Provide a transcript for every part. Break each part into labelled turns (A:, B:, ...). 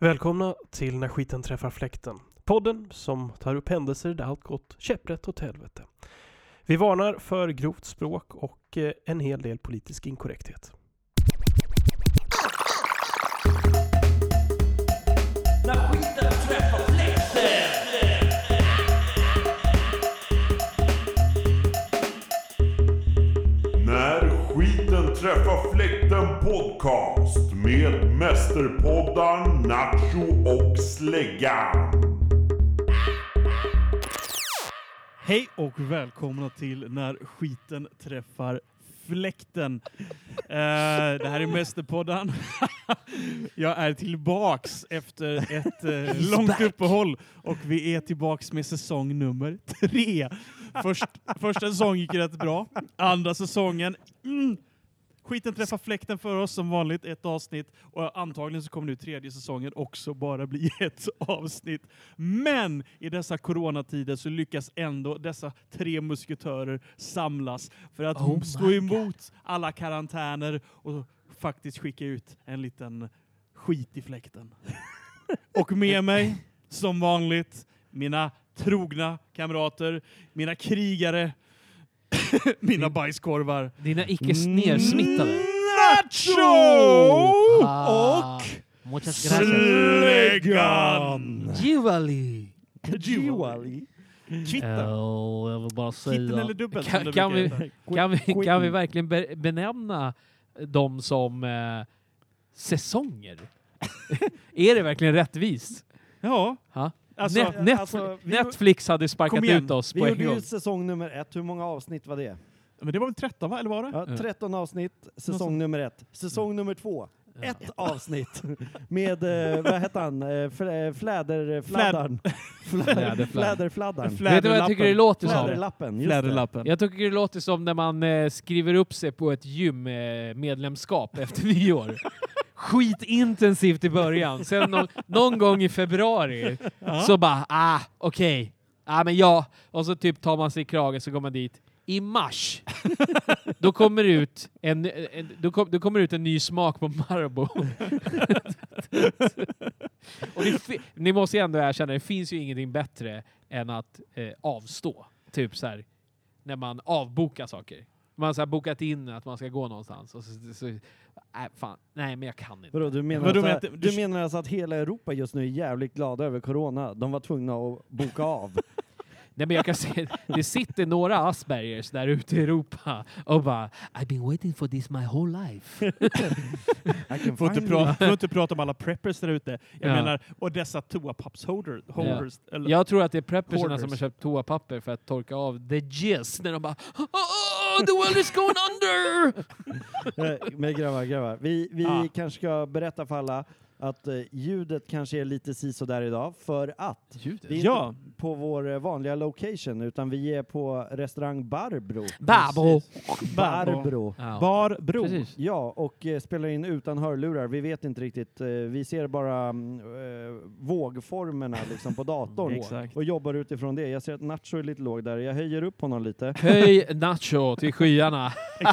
A: Välkomna till När skiten träffar fläkten. Podden som tar upp händelser där allt gått käpprätt åt helvete. Vi varnar för grovt språk och eh, en hel del politisk inkorrekthet.
B: När skiten träffar fläkten podcast med mästerpoddar Nacho och Släggan.
C: Hej och välkomna till När skiten träffar fläkten. Eh, det här är Mästerpodden. Jag är tillbaks efter ett eh, långt uppehåll och vi är tillbaks med säsong nummer tre. Först, första säsongen gick rätt bra. Andra säsongen mm, Skiten träffar fläkten för oss som vanligt, ett avsnitt. Och antagligen så kommer nu tredje säsongen också bara bli ett avsnitt. Men i dessa coronatider så lyckas ändå dessa tre musketörer samlas för att stå emot alla karantäner och faktiskt skicka ut en liten skit i fläkten. och med mig, som vanligt, mina trogna kamrater, mina krigare, mina bajskorvar.
D: Dina icke
C: Mm.
D: nersmittade.
C: Nacho!
D: Ah,
C: Och
D: Muchas gracias.
C: Släggan!
D: Jewali.
C: Kvitta.
D: Oh, jag vill bara
C: Kitten eller
D: Eh, säga.
C: dubbel som det
D: Kan, kan,
C: brukar
D: vi,
C: heta.
D: kan, vi, kan vi verkligen be, benämna dem som eh, säsonger? är det verkligen rättvist?
C: Ja.
D: Ha?
C: Alltså,
D: Net, net,
E: alltså, vi-
D: Netflix hade
C: Kom
D: sparkat
C: igen.
D: ut oss
E: Vi
D: på en
E: gjorde
D: gång.
E: ju säsong nummer ett. Hur många avsnitt var det?
C: Men det var väl 13 va? Eller var det?
E: Ja,
D: Mm.
E: 13 avsnitt, säsong
C: Någonstans.
E: nummer ett. Säsong
C: Mm.
E: nummer två.
D: Ja.
E: Ett avsnitt med, eh, vad hette han, eh, fl- eh, fläderfladdaren.
D: Fläderfladdaren.
E: Fläderfladdaren.
D: Vet du vad jag tycker det låter som?
E: Fläderlappen, just det.
C: Fläderlappen.
D: Jag tycker det låter som när man eh, skriver upp sig på ett gymmedlemskap efter nyår. Skitintensivt i början. Sen någon, någon gång i februari så bara, ah, okej. Ah, men ja. Och så typ tar man sig i kragen så går man dit. I mars, då kommer det ut en, en, då kom, då kommer det ut en ny smak på Marabou. Och det, fi- ni måste ju ändå erkänna, det finns ju ingenting bättre än att eh, avstå. Typ så här, när man avbokar saker. Man har så här bokat in att man ska gå någonstans och så, så, så äh, fan, nej men jag kan inte.
E: Vadå, du menar,
C: Vadå,
E: alltså,
C: men att det-
E: du menar alltså att hela Europa just nu är jävligt glada över corona? De var tvungna att boka av.
D: Nej men jag kan se, det sitter några Aspergers där ute i Europa och bara I've been waiting for this my whole life.
E: I can
C: Får inte,
E: find
C: prata, får inte prata om alla preppers där ute. Jag
D: Ja.
C: menar, och dessa toapapps holder, holders. Eller,
D: Jag tror att det är prepperserna som har
C: Hoarders.
D: köpt toapapper för att torka av the jizz när de bara oh, the world is going under!
E: Eh, Men grabbar, grabbar. Vi, vi
C: Ah.
E: kanske ska berätta för alla att eh, ljudet kanske är lite sisådär idag för att vi är
C: Ja.
E: inte på vår eh, vanliga location utan vi är på restaurang Barbro.
D: Babo!
E: Barbro.
D: Ja.
C: Barbro.
D: Precis.
E: Ja, och eh, spelar in utan hörlurar. Vi vet inte riktigt. eh, Vi ser bara mm, eh, vågformerna liksom på datorn
C: Exakt.
E: och jobbar utifrån det. Jag ser att Nacho är lite låg där. Jag höjer upp honom lite.
D: Höj Nacho till skyarna.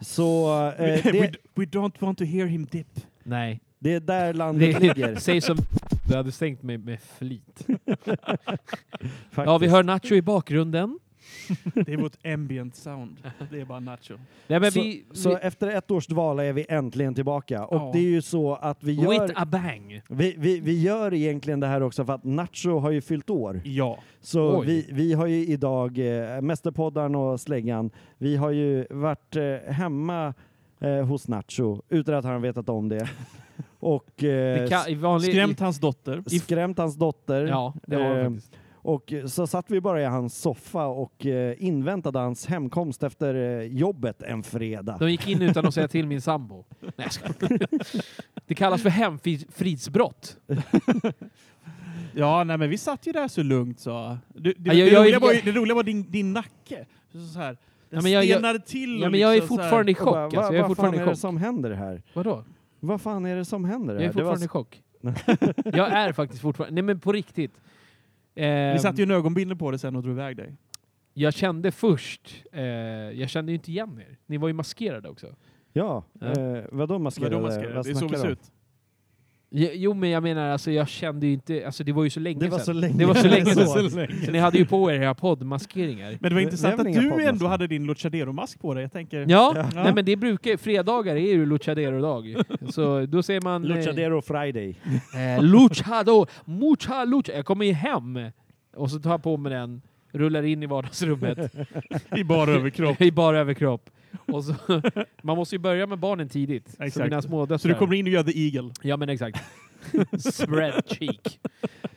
E: Så eh,
C: we,
E: det,
C: we don't want to hear him dip.
D: nej.
E: det är där
D: Det,
E: landet ligger.
D: det, säg som du hade stängt mig med flit. Ja, vi
E: faktiskt.
D: hör Nacho i bakgrunden.
C: Det är vårt ambient sound. Det är bara nacho.
D: Nej, men
E: Så-
D: vi,
E: Så
D: vi,
E: efter ett års dvala är vi äntligen tillbaka. Och
C: Ja.
E: det är ju så att vi gör,
D: With a bang.
E: vi, vi, vi gör egentligen det här också för att Nacho har ju fyllt år.
C: Ja.
E: Så
D: Oj.
E: vi, vi har ju idag, eh, Mästerpoddaren och Släggan, vi har ju varit eh, hemma eh, hos Nacho utan att han vetat om det. och eh,
D: Det kan, i vanlig,
C: Skrämt hans dotter.
E: s- skrämt hans dotter.
D: i, Ja, det var det
E: Eh,
D: faktiskt.
E: Och eh, så satt vi bara i hans soffa och eh, inväntade hans hemkomst efter eh, jobbet en fredag.
D: De gick in utan att säga till min sambo. Nej, jag skojar. Det kallas för hemfridsbrott.
C: Ja, nej, men vi satt ju där så lugnt så. Du, det,
D: Ja, jag-
C: det,
D: jag-
C: roliga var, ju-
D: jag-
C: det roliga var din, din nacke. Så så här, den
D: Ja, men jag- jag-
C: stelnade till.
D: Ja,
C: och
D: men jag är
C: liksom så här-
D: fortfarande i
E: Och
D: chock.
E: bara,
D: Alltså,
E: "Va-
D: jag är
E: vad fan är
D: fortfarande i
E: det
D: chock.
E: som händer här?
D: Vadå?
E: Vad fan är det som händer?
D: Jag
E: här?
D: är
E: Det var
D: fortfarande i chock. Jag är faktiskt fortfarande... Nej, men på riktigt. Ehm,
C: Vi satte ju en ögonbindel på det sen och drog iväg dig.
D: Jag kände först... Eh, jag kände ju inte igen er. Ni var ju maskerade också.
E: Ja,
D: Ja.
E: Eh, vadå maskerade?
C: Vadå maskerade?
E: Vad
C: Det är så vi
E: snackar
C: ser
E: du om?
C: ut.
D: Jo, men jag menar, alltså, jag kände ju inte... Alltså, det var ju så länge
E: Det var
D: sedan.
E: så länge
D: det var så
E: sedan.
D: länge
E: Det
D: sedan.
E: var så
D: Så ni hade ju på er era poddmaskeringar.
C: Men det var
E: Det-
C: intressant
E: det är
C: att
E: väl inga
C: du ändå
E: poddmaskar.
C: hade din Luchadero-mask på dig. Jag tänker...
D: Ja,
E: Ja.
D: Nej, men det brukar Fredagar är ju luchadero-dag. så då säger man... eh,
E: Luchadero Friday.
D: Eh, luchado, mucha lucha. Jag kommer ju hem och så tar jag på mig den, rullar in i vardagsrummet
C: I bara överkropp.
D: i bara överkropp. Och så, man måste ju börja med barnen tidigt. Så
C: Exakt.
D: mina smådöttrar.
C: Så du kommer in och gör the eagle.
D: Ja men exakt. Spread cheek.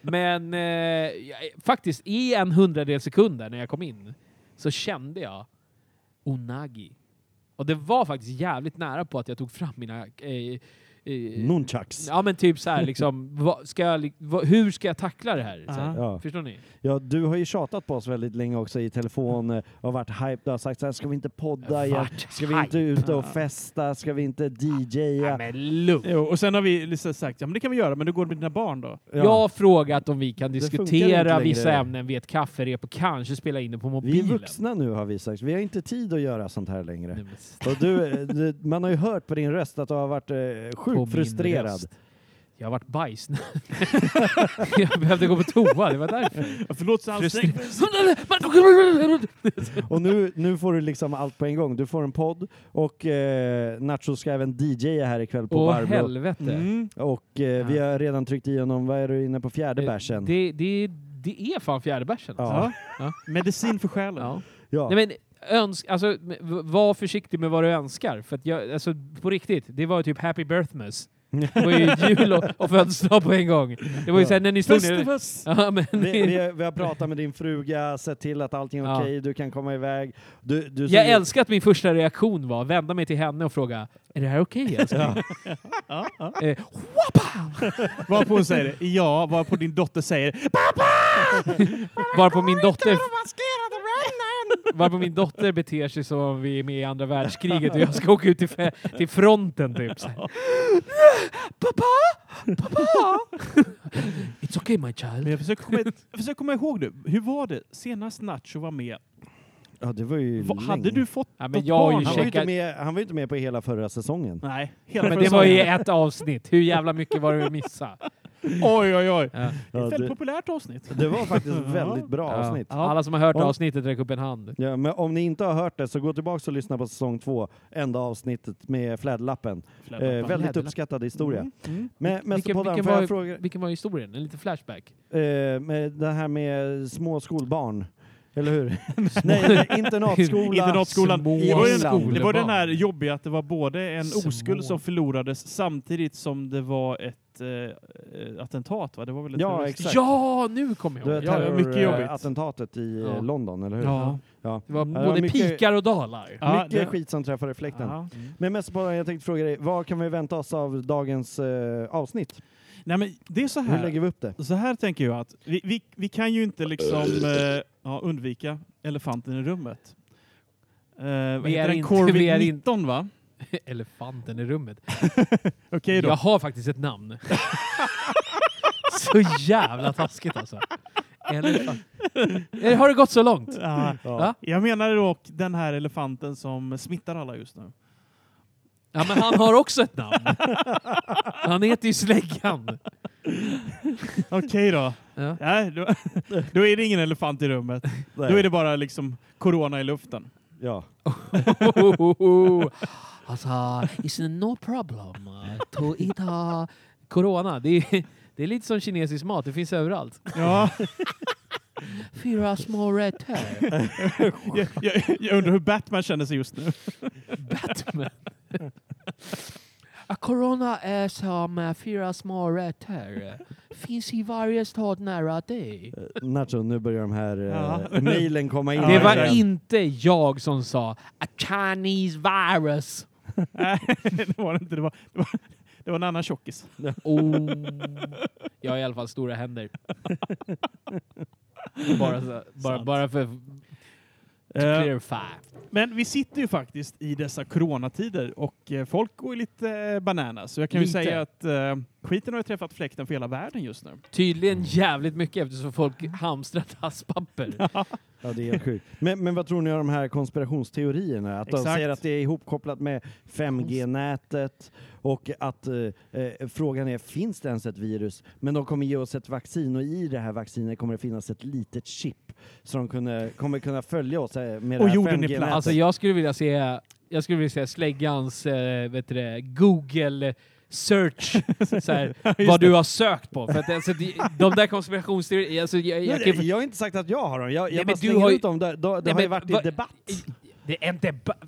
D: Men eh, jag- faktiskt i en hundradels sekund där när jag kom in så kände jag onagi. Och det var faktiskt jävligt nära på att jag tog fram mina... Eh, eh,
E: Nunchucks.
D: Ja men typ så här liksom, vad, ska jag, li- vad, hur ska jag tackla det här? Så här.
E: Ja.
D: Förstår ni?
E: Ja, du har ju tjatat på oss väldigt länge också i telefon
D: Mm.
E: eh, och varit hype. Du har sagt så här, ska vi inte podda igen?
D: Vart
E: Ska vi inte
D: hype?
E: ut och festa? Ska vi inte
D: Ja,
E: DJa?
D: men lugn.
C: Jo, och sen har vi liksom sagt, ja men det kan vi göra, men du går det med dina barn då?
D: Jag har frågat om vi kan
E: funkar inte
D: diskutera
E: längre.
D: vissa ämnen vid ett kafferep och kanske spela in det på
E: Vi är
D: mobilen.
E: vuxna nu har vi sagt. Vi har inte tid att göra sånt här längre.
D: Nej, men s-
E: Och du, eh, du, man har ju hört på din röst att du har varit eh,
D: på min
E: sjukt frustrerad.
D: röst. Jag har varit bajs. jag behövde gå på toa, det var därför.
C: Ja, Förlåt så alls
D: Frustrer-
E: Och nu, nu får du liksom allt på en gång. Du får en podd och eh, Nacho ska även DJa här ikväll på
D: Åh
E: Barbro.
D: helvete.
C: Mm.
E: Och eh, vi har redan tryckt igenom, vad är du inne på, fjärde bärsen?
D: Eh, Det, det, det är fan fjärde bärsen.
E: Ja.
D: alltså.
C: Medicin för själen.
D: Ja.
E: Ja.
D: Nej, men önsk, alltså, v- var försiktig med vad du önskar. För att jag, alltså, på riktigt, det var ju typ happy birthmas. Det var ju jul och, och födelsedag på en gång. Det var ju sen när ni stod nere...
C: Festivus!
D: Ja, men,
E: Vi, vi, vi har pratat med din fruga, sett till att allting är
D: Ja.
E: okej, du kan komma iväg. Du, du
D: jag
E: såg-
D: älskar att min första reaktion var att vända mig till henne och fråga Är det här okej älskling?
C: Ja, ja.
D: Eh,
C: Varpå hon säger det. Ja, varpå din dotter säger
D: varpå min dotter... Varpå min dotter beter sig som om vi är med i andra världskriget och jag ska åka ut till, fä- till fronten typ. Så här. Pappa! Pappa! It's okay my child.
C: Men jag försöker, komma, jag försöker komma ihåg nu, hur var det senast Nacho var med?
E: Ja, det var ju
C: Va,
E: länge.
C: hade du fått
D: Ja, men
C: något
D: jag har ju
C: barn?
E: han, var ju inte
D: Ursäkta.
E: med, han var ju inte med på hela förra säsongen.
C: Nej, hela
D: Men det
C: förra
D: var ju
C: säsongen.
D: ett avsnitt. Hur jävla mycket var det att missa?
C: Oj, oj, oj.
D: Ja.
E: Ja,
C: Ett väldigt
E: det,
C: populärt avsnitt.
D: Eh,
E: det var faktiskt väldigt bra
D: Ja.
E: avsnitt.
D: Alla som har hört
E: Om-
D: avsnittet, räck upp en hand.
E: Ja, men om ni inte har hört det så gå tillbaka och lyssna på säsong två, enda avsnittet med flädlappen. Eh, väldigt
D: Fläderlapp.
E: uppskattad historia.
C: Mm, mm.
E: Men, men
D: Vilken,
E: Stopoddan,
D: vilken,
E: får jag
D: var,
E: fråga,
D: vilken var historien? En liten flashback?
E: eh, med det här med små skolbarn, eller hur? Nej, internatskola.
C: Internatskolan.
D: Små
E: i
C: Det var, ju den,
E: England.
C: det var den
D: skolbarn.
C: här jobbiga att det var både en
D: Små.
C: oskuld som förlorades samtidigt som det var ett eh, eh, attentat, va? Det var väl ett
E: Ja,
C: terrorist-
E: exakt.
D: Ja, nu kommer jag
E: Det var
D: ihåg. Ja,
C: terror- mycket jobbigt.
E: terrorattentatet i eh,
D: Ja.
E: London, eller eh, hur?
C: Ja.
E: Ja.
D: det var
E: Ja, det var
D: både
E: mycket-
D: pikar och dalar.
C: Ja,
E: Mycket
C: det-
E: skit som träffade fläkten.
C: Ja.
E: Men mest bara, jag tänkte fråga dig, vad kan vi vänta oss av dagens eh, avsnitt?
C: Nej, men det är så
E: Hur
C: här.
E: lägger vi upp det?
C: Så här tänker jag att vi, vi, vi kan ju inte liksom eh, ja, undvika elefanten i rummet. Eh, vad
D: Vi är
C: heter den?
D: inte- vi är
C: Corvid
D: inte-
C: 19 va?
D: Elefanten i rummet.
C: Okej då.
D: Jag har faktiskt ett namn. så jävla taskigt alltså. Elefant. Eh, Har det gått så långt?
C: Ja.
D: Ja.
C: Jag menar dock den här elefanten som smittar alla just nu.
D: Ja, men han har också ett namn. Han heter ju Släggan.
C: Okej då.
D: Ja.
C: Nej, då. Då är det ingen elefant i rummet. Då är det bara liksom corona i luften.
E: Ja.
D: Alltså, it's no problem to eat uh, corona. Det är, det är lite som kinesisk mat, det finns överallt.
C: Ja,
D: Fyra små rätter.
C: jag, jag, jag undrar hur Batman känner sig just nu.
D: Batman. Ja, Corona är som eh, fyra små rätter. Finns i varje stad nära dig.
E: Nacho, nu börjar de här eh,
C: Ja.
E: mejlen komma in.
D: Det var
E: igen.
D: inte jag som sa a Chinese virus.
C: Nej, det var det inte. Det var, det var, det var en annan tjockis.
D: Oh. Jag har i alla fall stora händer. bara, så, bara,
C: Sant.
D: bara för
C: Eh,
D: clear fact.
C: Men vi sitter ju faktiskt i dessa coronatider och eh, folk går ju lite eh, bananas. Så jag kan ju
D: Lite.
C: säga att eh, Skiten har ju träffat fläkten för hela världen just nu.
D: Tydligen jävligt mycket eftersom folk hamstrar dasspapper.
E: Ja, det är helt sjukt. Men, men vad tror ni om de här konspirationsteorierna? Att de
C: Exakt.
E: säger att det är ihopkopplat med 5G-nätet och att eh, eh, frågan är, finns det ens ett virus? Men de kommer ge oss ett vaccin och i det här vaccinet kommer det finnas ett litet chip som de kunde, kommer kunna följa oss eh, med
C: Och
E: det här
C: jorden är platt.
E: 5G-nätet.
D: Alltså jag skulle vilja se, jag skulle vilja se släggans, eh, vet du det, Google search, så här, vad du har sökt på. För att, alltså, de, de där konspirationsteorierna, alltså, jag, jag,
E: jag,
D: kan
E: jag,
D: ju-
E: har inte sagt att jag har dem. Jag, jag
D: men
E: bara
D: du
E: slänger
D: har ju-
E: ut dem. Det, det, det
D: Nej,
E: har
D: men
E: ju varit
D: vad-
E: i debatt.
D: Det är en debatt.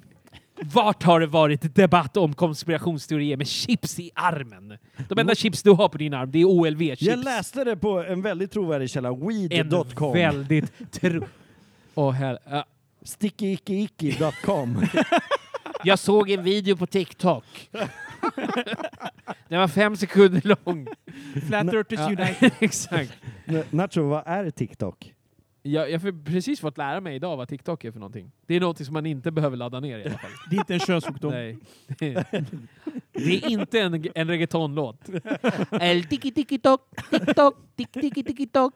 D: Vart har det varit debatt om konspirationsteorier med chips i armen? De enda chips du har på din arm, det är
E: Jag
D: OLV-chips.
E: läste det på en väldigt trovärdig källa,
D: En
E: weed.com.
D: väldigt tro... Åh, hel... ja.
E: Stickyickyicki.com.
D: Jag såg en video på TikTok. Den var fem sekunder lång.
C: Flat Earthers
D: Ja,
C: United.
D: Exakt.
E: Nacho, vad är TikTok?
D: Jag, jag har precis fått lära mig idag vad TikTok är för någonting. Det är någonting som man inte behöver ladda ner i alla fall.
C: Det är inte en könssjukdom.
D: Nej. Det är inte en, en reggaetonlåt. El tiki tiki tok, tik tok, tik tiki tiki tok.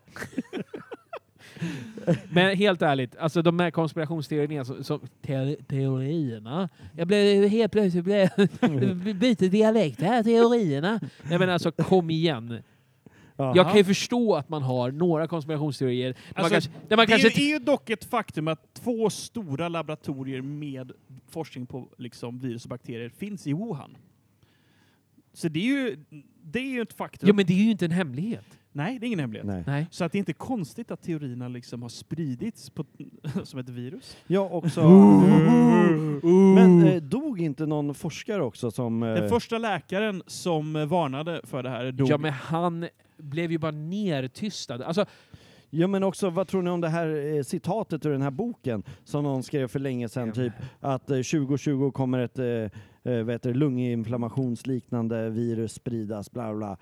D: Men helt ärligt, alltså de här konspirationsteorierna som, som teori, teorierna. Jag blev helt plötsligt blev, byter dialekt här, teorierna. Nej men alltså kom igen. Jag kan ju förstå att man har några konspirationsteorier. där man
C: Alltså,
D: kanske, där man
C: Det är,
D: kanske
C: ju- är ju dock ett faktum att två stora laboratorier med forskning på liksom, virus och bakterier finns i Wuhan. Så det är ju, det är ju ett faktum.
D: Jo men det är ju inte en hemlighet.
C: Nej, det är ingen hemlighet.
E: Nej.
D: Nej.
C: Så att det är inte konstigt att teorierna liksom har spridits på, som ett virus.
E: Ja, också. Men eh, dog inte någon forskare också som... Eh,
C: Den första läkaren som eh, varnade för det här dog.
D: Ja men han blev ju bara nertystad. Alltså
E: Ja, men också vad tror ni om det här eh, citatet ur den här boken som någon skrev för länge sedan, typ att eh, 2020 kommer ett eh, eh, vad heter det, lunginflammationsliknande virus spridas, bla bla.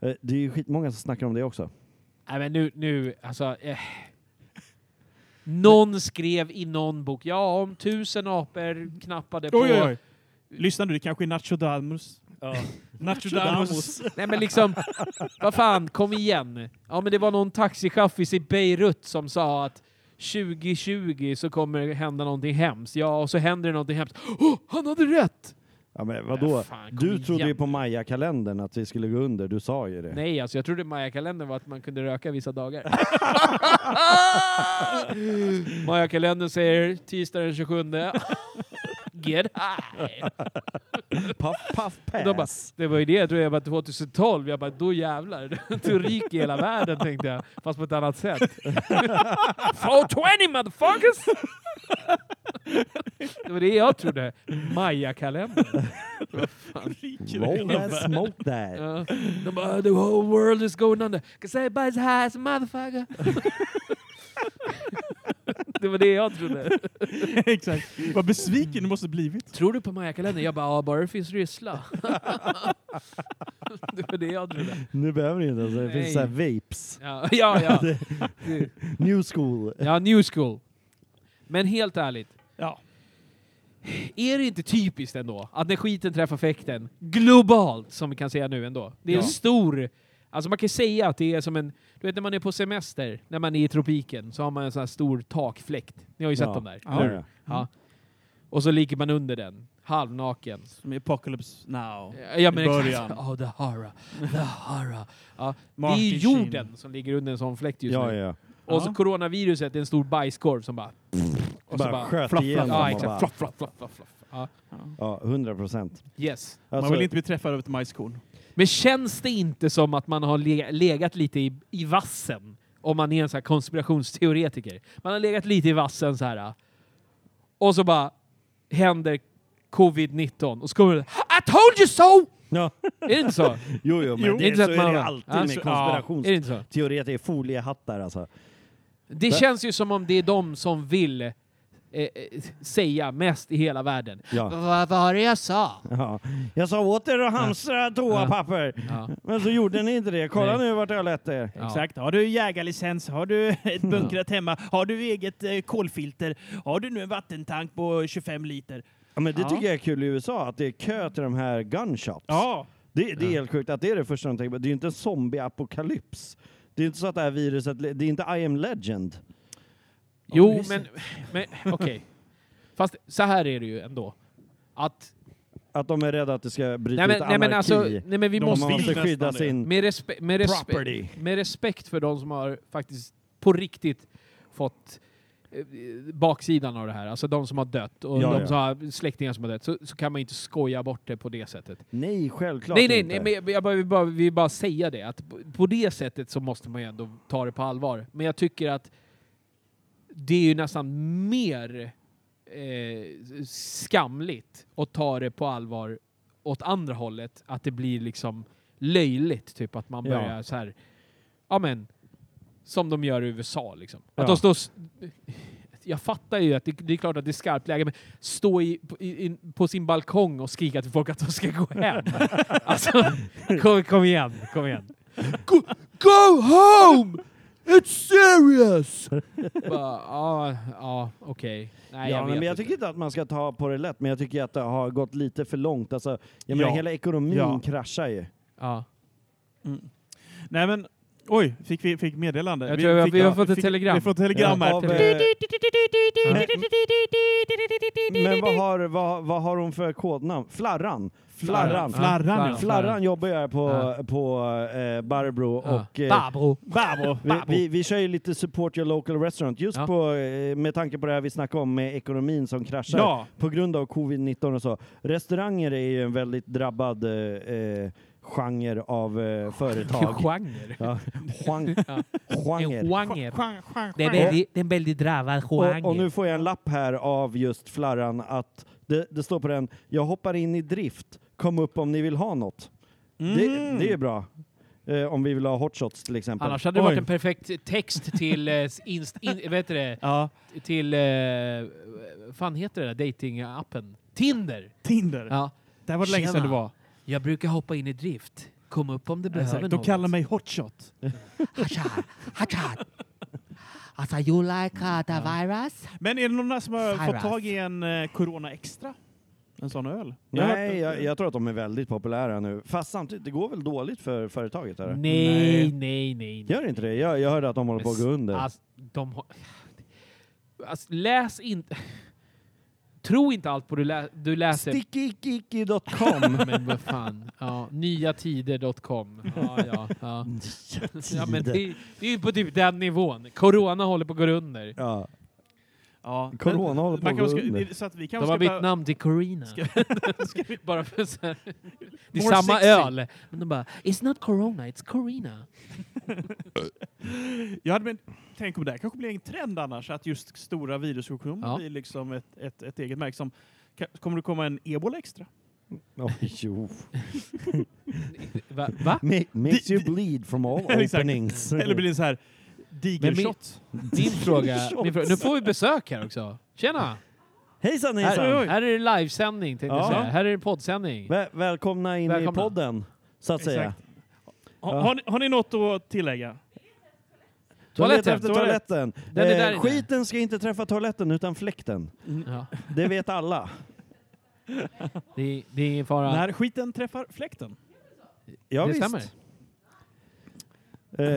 E: Eh, det är ju skitmånga som snackar om det också.
D: Nej men nu, nu alltså... Eh. Någon skrev i någon bok, ja om tusen apor knappade på...
C: Oj, oj, oj. Lyssna nu, det kanske är Nacho Damus. Nacho Damus.
D: Nej men liksom, vad fan, kom igen. Ja men det var någon taxichaffis i Beirut som sa att 2020 så kommer det hända någonting hemskt. Ja, och så händer det någonting hemskt. Oh, han hade rätt!
E: Ja, men vadå?
D: Ja, fan, kom
E: du trodde
D: igen.
E: ju på Maya-kalendern att vi skulle gå under, du sa ju det.
D: Nej, alltså jag trodde Maya-kalendern var att man kunde röka vissa dagar. Maya-kalendern säger tisdag den 27. Get high!
E: Puff, puff, pass.
D: De bara, det var ju det jag tror jag var 2012. Jag bara, då jävlar. Då ryker hela världen tänkte jag. Fast på ett annat sätt. 420 motherfuckers! det var det jag trodde. Maya-kalendern.
E: Roll that, smoke that.
D: Ja. De bara, the whole world is going under. Cause everybody's high as a motherfucker. det var det jag trodde.
C: Exakt. Vad besviken du måste blivit.
D: Tror du på Maya-kalendern? Jag bara, ja, bara det finns ryssla. det var det jag trodde.
E: Nu behöver ni inte ens, det finns
D: Nej.
E: såhär vapes.
D: Ja, ja. ja. Det-
E: New school.
D: Ja, new school. Men helt ärligt,
C: Ja.
D: är det inte typiskt ändå att när skiten träffar fäkten, globalt som vi kan säga nu ändå, det är en
C: Ja.
D: stor... Alltså man kan säga att det är som en... Du vet när man är på semester, när man är i tropiken, så har man en sån här stor takfläkt. Ni har ju sett
E: Ja. Mm.
D: dem där.
C: Ja.
D: eller hur? Ja. Och så ligger man under den, halvnaken.
C: Som i Apocalypse Now.
D: Ja
C: I
D: men
C: början.
D: exakt. Oh, the horror. The horror. Ja. Det är
C: Martin
D: ju
C: Sheen.
D: jorden som ligger under en sån fläkt just
E: Ja,
D: nu.
E: ja.
D: Och så
C: Ja.
D: coronaviruset är en stor bajskorv som bara... Och så
E: Bara
D: bara
E: sköt
C: fluff,
E: igenom
C: fluff,
E: dem
D: Ja,
E: och
D: exakt.
E: bara-
D: Fluff, fluff, fluff, fluff, fluff. Ja.
E: Ja, 100 procent.
D: Yes.
E: Alltså,
C: Man vill inte bli träffad av ett majskorn.
D: Men känns det inte som att man har le- legat lite i, i vassen? Om man är en sån här konspirationsteoretiker. Man har legat lite i vassen så här. Och så bara händer covid-19 och så kommer det I told you so!
E: Ja.
D: Är det inte så?
E: Jo, jo, men
D: Jo.
E: det,
D: Det är inte
E: så
D: så
E: är
D: att man-
E: det alltid
D: Alltså,
E: med
D: ja.
E: konspirations...
D: Är det inte så?
E: Teoretiker, foliehattar alltså.
D: Det känns ju som om det är de som vill eh, eh, säga mest i hela världen.
E: Ja.
D: Vad var det jag sa?
E: Ja. Jag sa åt er att hamstra toapapper,
D: Ja.
E: men så gjorde ni inte det. Kolla
D: Nej.
E: nu vart jag har lett er.
D: Ja.
C: Exakt. Har du jägarlicens? Har du ett bunkrat hemma? Har du eget eh, kolfilter? Har du nu en vattentank på 25 liter?
E: Ja, men det
C: Ja.
E: tycker jag är kul i USA, att det är kö till de här gunshops.
C: Ja.
E: Det, det är helt sjukt att det är det första de tänker på. Det är ju inte en zombieapokalyps. Det är inte så att det här viruset, det är inte I am legend.
D: Jo, men, men okej. Fast så här är det ju ändå. Att,
E: Att de är rädda att det ska bryta
D: nej, men,
E: ut anarki.
D: nej, men alltså, nej, men vi
C: De
D: måste
E: man
D: ju...
C: vill
E: måste
C: nästan
E: skydda
C: det.
E: sin...
D: Med, respe, med,
E: Property.
D: respe, med respekt för de som har faktiskt på riktigt fått eh, baksidan av det här, alltså de som har dött och
E: Ja,
D: de
E: ja.
D: som har släktingar som har dött, så, så kan man inte skoja bort det på det sättet.
E: Nej, självklart
D: Nej, nej,
E: inte.
D: nej, men jag, jag bara, vill bara, vill bara säga det, att på- på det sättet så måste man ju ändå ta det på allvar. Men jag tycker att det är ju nästan mer eh, skamligt att ta det på allvar åt andra hållet, att det blir liksom löjligt, typ att man
E: Ja.
D: börjar så här, ja men, som de gör i USA liksom. Att
E: Ja.
D: de står... s- Jag fattar ju att det, det är klart att det är skarpt läge, men stå i, på- i, i, på sin balkong och skrika till folk att de ska gå hem. alltså, kom, kom igen, kom igen. Go, go home! It's serious! Bara, Ja, ja, okej. Nej,
E: ja,
D: jag
E: men
D: vet
E: jag
D: inte.
E: tycker inte att man ska ta på det lätt, men jag tycker att det har gått lite för långt. Alltså, jag menar,
C: Ja.
E: hela ekonomin
C: Ja.
E: kraschar ju.
D: Ja.
C: Nej men, oj, fick vi fick meddelande?
D: Jag tror vi har-
C: fick-
D: vi har fått ett
C: fick-
D: telegram.
C: Vi har fått ett telegram
E: Ja,
C: här.
E: av,
D: Men-
E: eh, men, men vad har, vad, vad har hon för kodnamn? Flarran. Flarran.
D: Flarran. Flarran, ja.
E: Flarran jobbar jag på,
D: Ja.
E: på eh, Barbro
D: Ja.
E: och eh,
D: Babbo.
C: Babbo!
E: vi, vi, vi kör ju lite support your local restaurant just
D: Ja.
E: på, eh, med tanke på det här vi snackade om med ekonomin som kraschar
C: Ja.
E: på grund av covid-19 och så. Restauranger är ju en väldigt drabbad eh, eh, genre av eh, företag.
D: Genre.
E: Ja. Genre.
D: Ja.
E: Genre.
D: Genre.
C: Skjang, skjang,
D: Det är
C: skjang.
D: väldigt- det är en väldigt drabbad genre.
E: Och, och nu får jag en lapp här av just Flarran att det, det står på den, jag hoppar in i drift, kom upp om ni vill ha något.
C: Mm.
E: Det, det är ju bra. Eh, om vi vill ha hot shots till exempel.
D: Annars hade det varit
C: Oj.
D: en perfekt text till, eh, s- inst, in, vet du det,
C: Ja,
D: till, eh, vad fan heter det där datingappen? Tinder!
C: Tinder.
D: Ja.
C: Det här var länge sedan
D: Tjena.
C: det var.
D: Jag brukar hoppa in i drift. Kom upp om du behöver
C: Exakt.
D: något.
C: De kallar mig hotshot.
F: Hachar, Hachar. Alltså, you like uh, the virus?
C: Men är det någon som har fått
F: Cyrus.
C: tag i en eh, Corona Extra? En sån öl? Jag har hört-
E: Nej, jag, jag tror att de är väldigt populära nu. Fast samtidigt, det går väl dåligt för företaget? Eller?
D: Nej, nej, nej. nej.
E: Gör inte det? Jag, jag hörde att de håller på att gå under.
D: Alltså, de har... Alltså, läs inte... Tro inte allt på du, lä, du läser.
E: Stickikiki.com
D: Men vad fan. Ja, nyatider.com. Ja, ja, ja. ja men det, det är ju på typ den nivån. Corona håller på att gå under.
E: Ja.
C: Ja.
E: Corona håller på
C: Man
E: att gå
C: kan, ska,
E: under.
C: är det så att vi
D: De
C: kanske
D: har
C: ska
D: bytt
C: bara-
D: namn till Corina. Bara för så här. Det är
C: More
D: samma
C: sexy.
D: öl. Men de bara, it's not Corona, it's Corina.
C: Jag hade men, tänk om det här kanske blir en trend annars, att just stora virussjukdomar
D: Ja.
C: blir liksom ett, ett, ett eget märke. Som, ka- kommer det komma en ebola extra?
E: Oj, jo.
D: Va? Va?
E: Ma- Makes you bleed from all
C: Exakt.
E: openings.
C: Eller blir det så här digershot?
D: Din fråga, min fråga. Nu får vi besök här också. Tjena!
E: Hejsan
D: Här,
E: hejsan!
D: här är det livesändning tänkte jag
E: Ja.
D: säga. Här är det poddsändning.
E: Väl välkomna in
D: Välkomna.
E: i podden, så att säga.
C: Exakt. Ha,
E: Ja.
C: har, ni, har ni något att tillägga?
E: Toaletten.
D: Toaletten.
E: efter toaletten.
D: Den är där
E: eh,
D: inne.
E: skiten ska inte träffa toaletten utan fläkten.
D: Ja.
E: Det vet alla.
D: Det, är- det är ingen fara.
C: När skiten träffar fläkten.
E: Ja,
D: det
E: visst.
D: stämmer.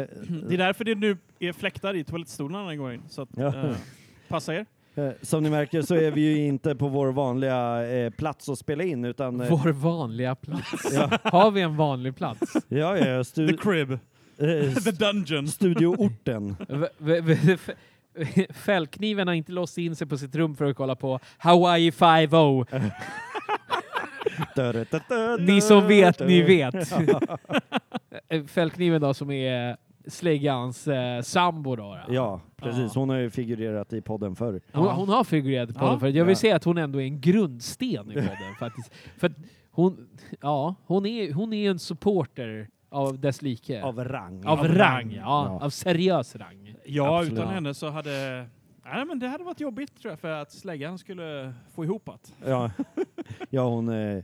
E: Eh,
C: Det är därför det nu är fläktar i toalettstolarna när ni går in. Så att,
E: Ja.
C: eh, passa er.
E: Eh, Som ni märker så är vi ju inte på vår vanliga eh, plats att spela in utan... Eh,
D: Vår vanliga plats.
E: Ja.
D: Har vi en vanlig plats?
E: ja, ja, stu,
C: The crib.
E: eh,
C: The dungeon.
E: studioorten.
D: V- v- v- f- Fällkniven har inte låst in sig på sitt rum för att kolla på Hawaii 5 Ni som vet, ni vet. Eh, Fällkniven då som är Släggans eh, sambo då. då.
E: Ja, precis. Hon har ju figurerat i podden förr.
D: Hon,
C: Ja.
D: hon har figurerat i podden
C: Ja.
D: förut. Jag vill
E: Ja.
D: säga att hon ändå är en grundsten i podden faktiskt. För att hon, ja, hon är, hon är en supporter av dess like.
E: Av rang.
D: Av rang, ja.
E: Ja.
D: Av seriös rang.
C: Ja,
E: Absolut.
C: utan
E: Ja.
C: henne så hade... Nej, men det hade varit jobbigt tror jag, för att släggan skulle få ihop att.
E: Ja, ja hon eh,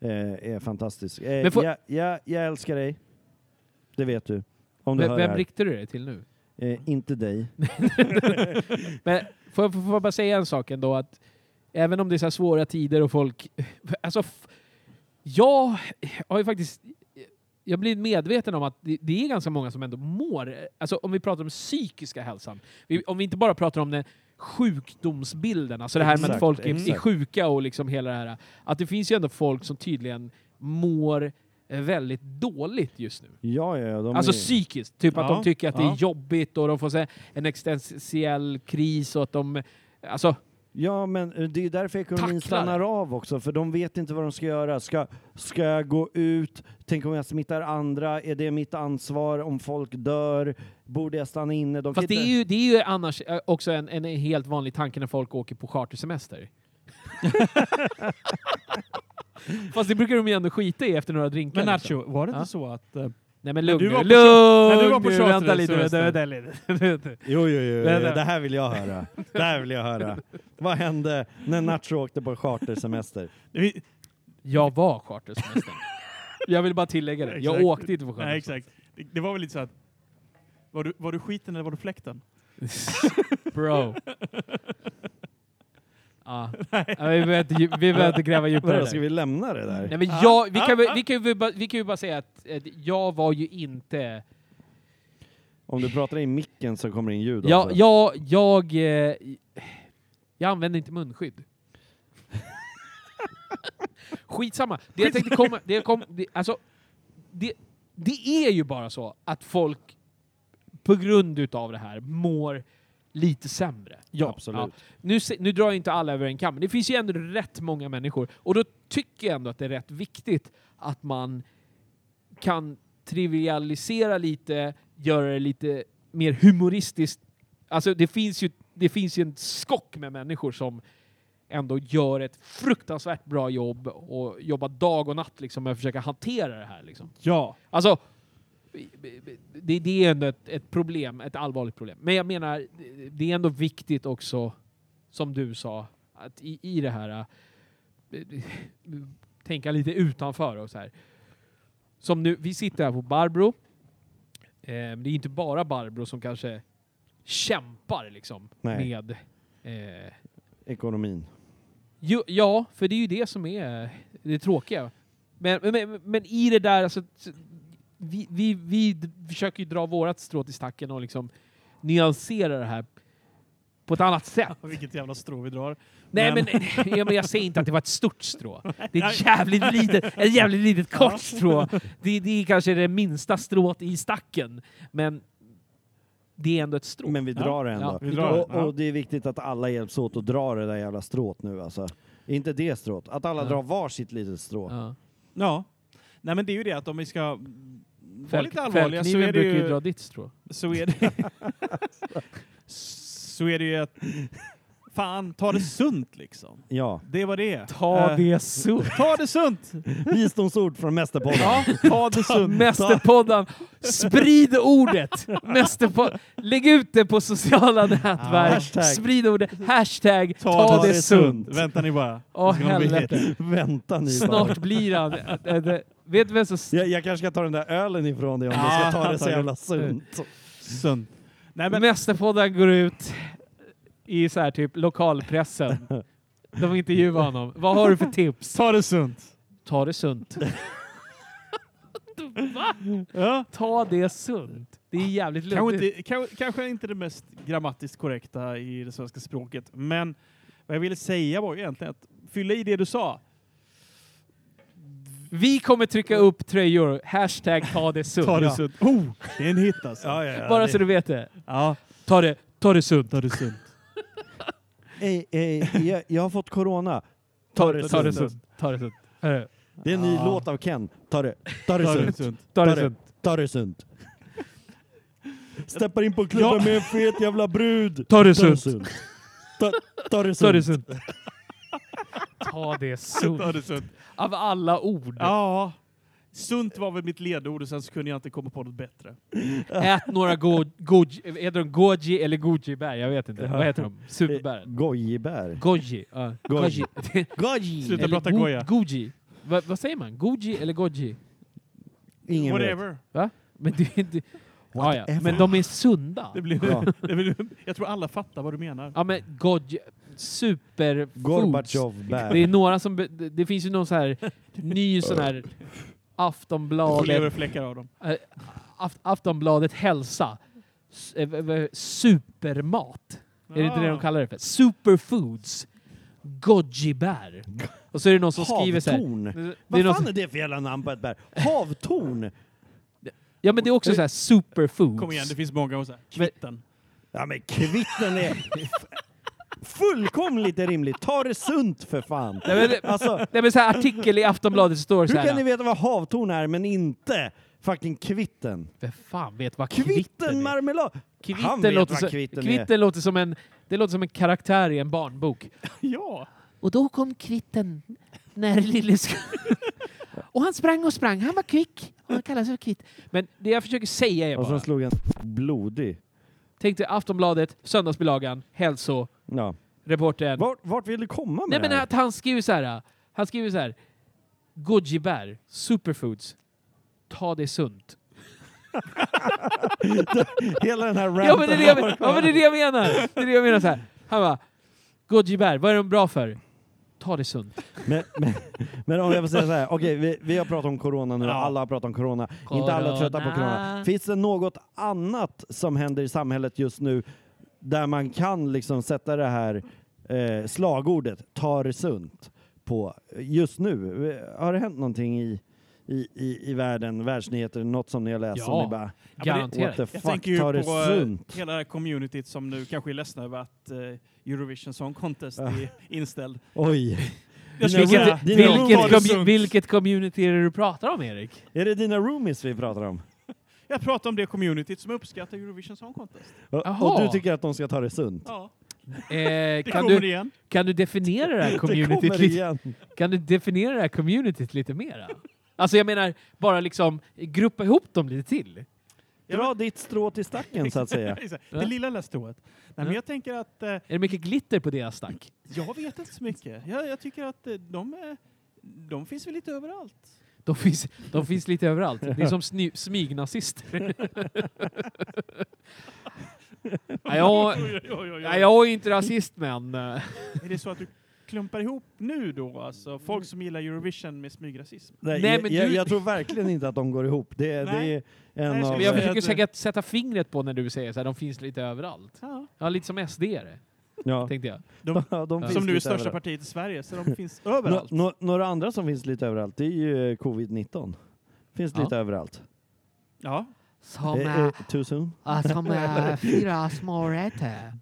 E: eh, är fantastisk. Eh,
D: Men får-
E: jag, jag, jag älskar dig. Det vet du. Om du
D: Vem,
E: hör
D: vem
E: det
D: riktar du det till nu?
E: här. Eh, inte dig.
D: Men får jag, får jag bara säga en sak ändå? Att även om det är så här svåra tider och folk... Alltså, f- Jag har ju faktiskt... Jag blir medveten om att det, det är ganska många som ändå mår... Alltså om vi pratar om psykiska hälsan. Vi, om vi inte bara pratar om den sjukdomsbilden, alltså det här med att
E: Exakt,
D: folk är, är
E: exakt.
D: sjuka och liksom hela det här. Att det finns ju ändå folk som tydligen mår eh, väldigt dåligt just nu.
E: Ja, ja, ja. De
D: Alltså
E: är...
D: psykiskt. Typ att
C: Ja,
D: de tycker att det
C: ja.
D: är jobbigt och de får så här, en existentiell kris och att de... Alltså,
E: Ja, men eh, det är därför ekonomin
D: Tacklar.
E: stannar av också, för de vet inte vad de ska göra. Ska, ska jag gå ut? Tänk om jag smittar andra? Är det mitt ansvar om folk dör? Borde jag stanna inne? De kan
D: fast det är,
E: inte-
D: ju, det är ju annars eh, också en, en helt vanlig tanke när folk åker på chartersemester. fast det brukar de ju ändå skita i efter några drinkar.
C: Men
D: liksom.
C: Nacho, var det inte
D: Ja.
C: så att... eh,
D: Nej men lugn
C: du
D: nu.
C: var på-
D: Lugn
C: när du var på
D: nu,
C: charter-
D: vänta lite.
C: semester.
D: vänta lite.
E: Jo, jo, jo, jo,
D: Vänta.
E: det här vill jag höra. Det här vill jag höra. Vad hände när Nacho åkte på chartersemester?
C: vi-
D: Jag var chartersemester. Jag vill bara tillägga det. Jag
C: Exakt.
D: åkte inte på
C: Nej,
D: chartersemester.
C: exakt. Det, det var väl lite så att... Var du, var du skiten eller var du fläkten?
D: Bro. Ja. Ja, vi behöver inte dju- vi behöver inte gräva djupare
E: Vadå, Ska
D: där.
E: vi lämna det där?
D: Nej, men
C: Ah,
D: jag, vi, kan,
C: ah,
D: väl-
C: ah.
D: vi, kan ju bara, vi kan ju bara säga att eh, jag var ju inte...
E: Om du pratar i micken så kommer det in ljud
D: Jag,
E: också.
D: jag, jag, eh, jag använde inte munskydd. Skitsamma. Det jag tänkte komma... Det, jag kom, det, alltså, det, det är ju bara så att folk på grund utav det här mår lite sämre.
E: Ja, absolut.
D: Nu, se- nu drar jag inte alla över en kam, men det finns ju ändå rätt många människor. Och då tycker jag ändå att det är rätt viktigt att man kan trivialisera lite, göra det lite mer humoristiskt. Alltså det finns ju, det finns ju en skock med människor som ändå gör ett fruktansvärt bra jobb och jobbar dag och natt liksom med att försöka hantera det här. Liksom.
C: Ja.
D: Alltså, det, det är ändå ett, ett problem, ett allvarligt problem. Men jag menar, det är ändå viktigt också, som du sa, att i, i det här eh, tänka lite utanför och så här. Som nu, vi sitter här på Barbro. Eh, Det är inte bara Barbro som kanske kämpar liksom
E: Nej.
D: med eh,
E: Ekonomin.
D: Jo, ja, för det är ju det som är det tråkiga. Men, men, men i det där, alltså, t- vi, vi, vi d- försöker ju dra vårat strå till stacken och liksom nyansera det här på ett annat sätt.
C: Vilket jävla strå vi drar.
D: Nej,
C: Men-
D: men, ja, men jag säger inte att det var ett stort strå. Det är ett jävligt litet, ett jävligt litet kort strå. Det, det är kanske det minsta strået i stacken, men det är ändå ett strå.
E: Men vi drar det ändå.
D: Ja,
C: vi drar det.
E: och, och det är viktigt att alla hjälps åt att dra det där jävla strået nu alltså. Inte det strået, att alla
D: Ja.
E: drar var sitt litet strå.
D: Ja.
C: Ja. Nej, men det är ju det att om vi ska vara
D: Fäll,
C: lite allvarliga så
D: fällkniven
C: är det
D: brukar ju
C: ju...
D: dra ditt strå.
C: Så är det, så är det ju att... Fan, ta det sunt liksom.
E: Ja,
C: Det var det.
D: Ta
C: Eh,
D: det så.
C: Ta det sunt!
E: visdomsord från Mästerpodden.
D: Ja,
C: Ta det sunt.
D: Mästerpodden, sprid ordet! Mästerpodden. Lägg ut det på sociala nätverk.
E: hashtag.
D: Sprid ordet. Hashtag ta, det, sunt.
C: Vänta ni bara.
D: Åh
C: Det ska nog bli hett.
D: helvete.
E: Vänta ni bara.
D: Snart blir han... eh, eh, Vet du vem som...
E: Jag, jag kanske ska ta den där ölen ifrån dig om du
C: Ah,
E: ska ta det så
C: tack.
E: jävla sunt.
C: Sunt. Nej, men,
D: Mästerpodden går ut i så här typ lokalpressen. De intervjuar honom. Vad har du för tips?
C: ta det sunt.
D: Ta det sunt. Va?
C: Ja.
D: Ta det sunt. Det är jävligt
C: Kanske,
D: luddigt.
C: inte, kan- kanske inte det mest grammatiskt korrekta i det svenska språket, men vad jag ville säga var ju egentligen att fylla i det du sa.
D: Vi kommer trycka upp tröjor. Hashtag ta det sunt.
C: Ta det
D: Ja.
C: sunt. Oh, det är en hit alltså.
E: Ja, ja, ja.
D: Bara
E: det-
D: så du vet det.
C: Ja,
D: Ta det, ta det sunt.
C: ta det sunt.
E: Ey, ey, jag, jag har fått corona.
D: Ta det, ta det sunt. Ta det sunt. Eh,
E: Det är en ny
C: Ah.
E: låt av Ken. Ta det, ta det
C: Ta det
E: sunt.
C: sunt.
D: Ta det sunt.
E: Ta det sunt. Steppar in på klubben med en fet jävla brud.
D: Ta det
E: Ta det
D: sunt.
E: sunt. Ta, ta det
D: Ta det
E: sunt.
D: sunt. Ta det
C: Ta
D: sunt.
C: det sunt.
D: Av alla ord.
C: Ja. Sunt var väl mitt ledord och sen så kunde jag inte komma på något bättre.
D: Ät några go- goji, heter de goji eller goji-bär? Jag vet inte. Vad heter de? Superbären?
E: Gojibär.
D: Goji. ja.
E: Goji.
D: Goji.
E: Goji.
C: Sluta
D: Eller
C: prata
D: go-
C: goja.
D: Goji. Va, vad säger man? Goji eller goji?
E: Ingen vet.
C: Whatever.
D: Men det är inte... Ja, ja.
E: Whatever.
D: Men de är sunda.
C: Det blir,
E: Ja.
C: det blir, jag tror alla fattar vad du menar.
D: Ja men goji... superfoods.
E: Gorbatjov
D: Det
E: bär.
D: är några som... be- Det det finns ju någon så här ny sån här
C: Och
D: Aftonbladet...
C: leverfläckar av dem.
D: eh, Aft- Aftonbladet Hälsa. S- eh, v- v- Supermat. Är det inte
E: Ah.
D: det de kallar det för? Superfoods. Goji-bär. Och så är det någon som skriver så här...
E: Havtorn.
D: Det- Det är
E: Vad
D: någon
E: fan
D: som,
E: är det för jävla namn på ett bär? Havtorn!
D: ja men det är också så här
C: Kom igen,
D: superfoods.
C: det finns många och så här. Kvitten.
E: Ja men kvitten är f- fullkomligt rimligt. Ta det sunt för fan.
D: Nej men, det-
E: Alltså,
D: nej, men så här artikel i Aftonbladet står så
E: hur kan ni
D: här...
E: veta vad havtorn är men inte fucking kvitten?
D: Vem fan vet vad kvitten
E: Kvitten
D: är?
E: marmelad! Han
D: Kvitten
E: vet
D: låter,
E: vad
D: som,
E: kvitten
D: kvitten,
E: är.
D: låter som en, det låter som en karaktär i en barnbok.
C: Ja.
F: Och då kom kvitten när lille sk-
D: Och han sprang och sprang. Han var kvick. Och han kallades för kvitt. Men det jag försöker säga är
E: Och
D: bara...
E: så slog han blodig.
D: Tänk dig Aftonbladet, söndagsbilagan, hälsoreportern.
E: Ja. Vart, vart vill du komma
D: Nej
E: med
D: men
E: det här?
D: att han skriver så här. äh, Han skriver så här. Goji-bär, superfoods. Ta det sunt.
E: Hela den här ranten.
D: Ja men det är det jag, ja, men det, är det jag menar! Det är det jag menar så här. Han bara, goji-bär, vad är de bra för? Ta det sunt.
E: Men, men, men om jag får säga så här, okej vi, vi har pratat om corona nu, alla har pratat om corona. Inte alla är trötta på corona.
D: Corona.
E: Finns det något annat som händer i samhället just nu där man kan liksom sätta det här eh, slagordet ta det sunt på just nu? Eh, Har det hänt någonting i, i, i, i världen, världsnyheter, något som ni har läst som
D: Ja.
E: ni bara
C: men det-
D: Garanterat.
E: what the
C: Jag
E: fuck,
C: tänker ju
E: ta det
C: på eh,
E: sunt?
C: hela det här communityt som nu kanske är ledsna över att eh, Eurovision Song Contest är inställd.
E: Oj,
C: Jag skulle säga,
D: vilket,
E: dina
D: vilket,
E: roomies.
D: commu- vilket community är det du pratar om Erik?
E: är det dina roomies vi pratar om?
C: jag pratar om det communityt som uppskattar Eurovision Song Contest.
E: Och, och
D: Jaha.
E: du tycker att de ska ta det sunt?
C: Ja,
D: Eh,
C: det
D: kan,
C: kommer
D: du,
C: igen.
D: kan du definiera det här
E: Det
D: communityt
E: kommer
D: lite,
E: igen.
D: kan du definiera det här communityt lite mera? Alltså jag menar, bara liksom gruppa ihop dem lite till.
E: Dra ditt strå till stacken så att säga.
C: det lilla lilla strået. Nej, men jag tänker att eh,
D: Är det mycket glitter på deras stack?
C: jag vet inte så mycket. Jag, jag tycker att eh, de, är- de finns väl lite överallt.
D: De finns, de finns lite överallt. Det är som sny, smygnazister. Nej, jag,
C: Oj, oj, oj, oj.
D: nej, jag är inte rasist men... eh,
C: Är det så att du klumpar ihop nu då, alltså folk som gillar Eurovision med smygrasism?
E: Nej,
D: Nej,
E: jag,
D: men
E: jag,
D: du-
E: jag tror verkligen inte att de går ihop. Det, är- det är
C: Nej.
E: en
C: Nej,
E: av...
C: skulle
D: Men jag
C: säga
D: försöker
C: att-
D: säkert sätta fingret på när du säger så här, de finns lite överallt.
C: Ja.
D: Ja, lite som SD är det,
E: ja.
D: tänkte jag.
C: De,
E: Ja, de finns
C: som nu är
E: lite
C: största
E: överallt.
C: partiet i Sverige, så de finns överallt.
E: Nå, nå, några andra som finns lite överallt, det är ju eh, covid-19. Finns
D: Ja.
E: lite överallt.
C: Ja.
F: som,
E: Eh,
F: eh,
E: eh, too soon?
F: ah, som eh, fyra små rätter.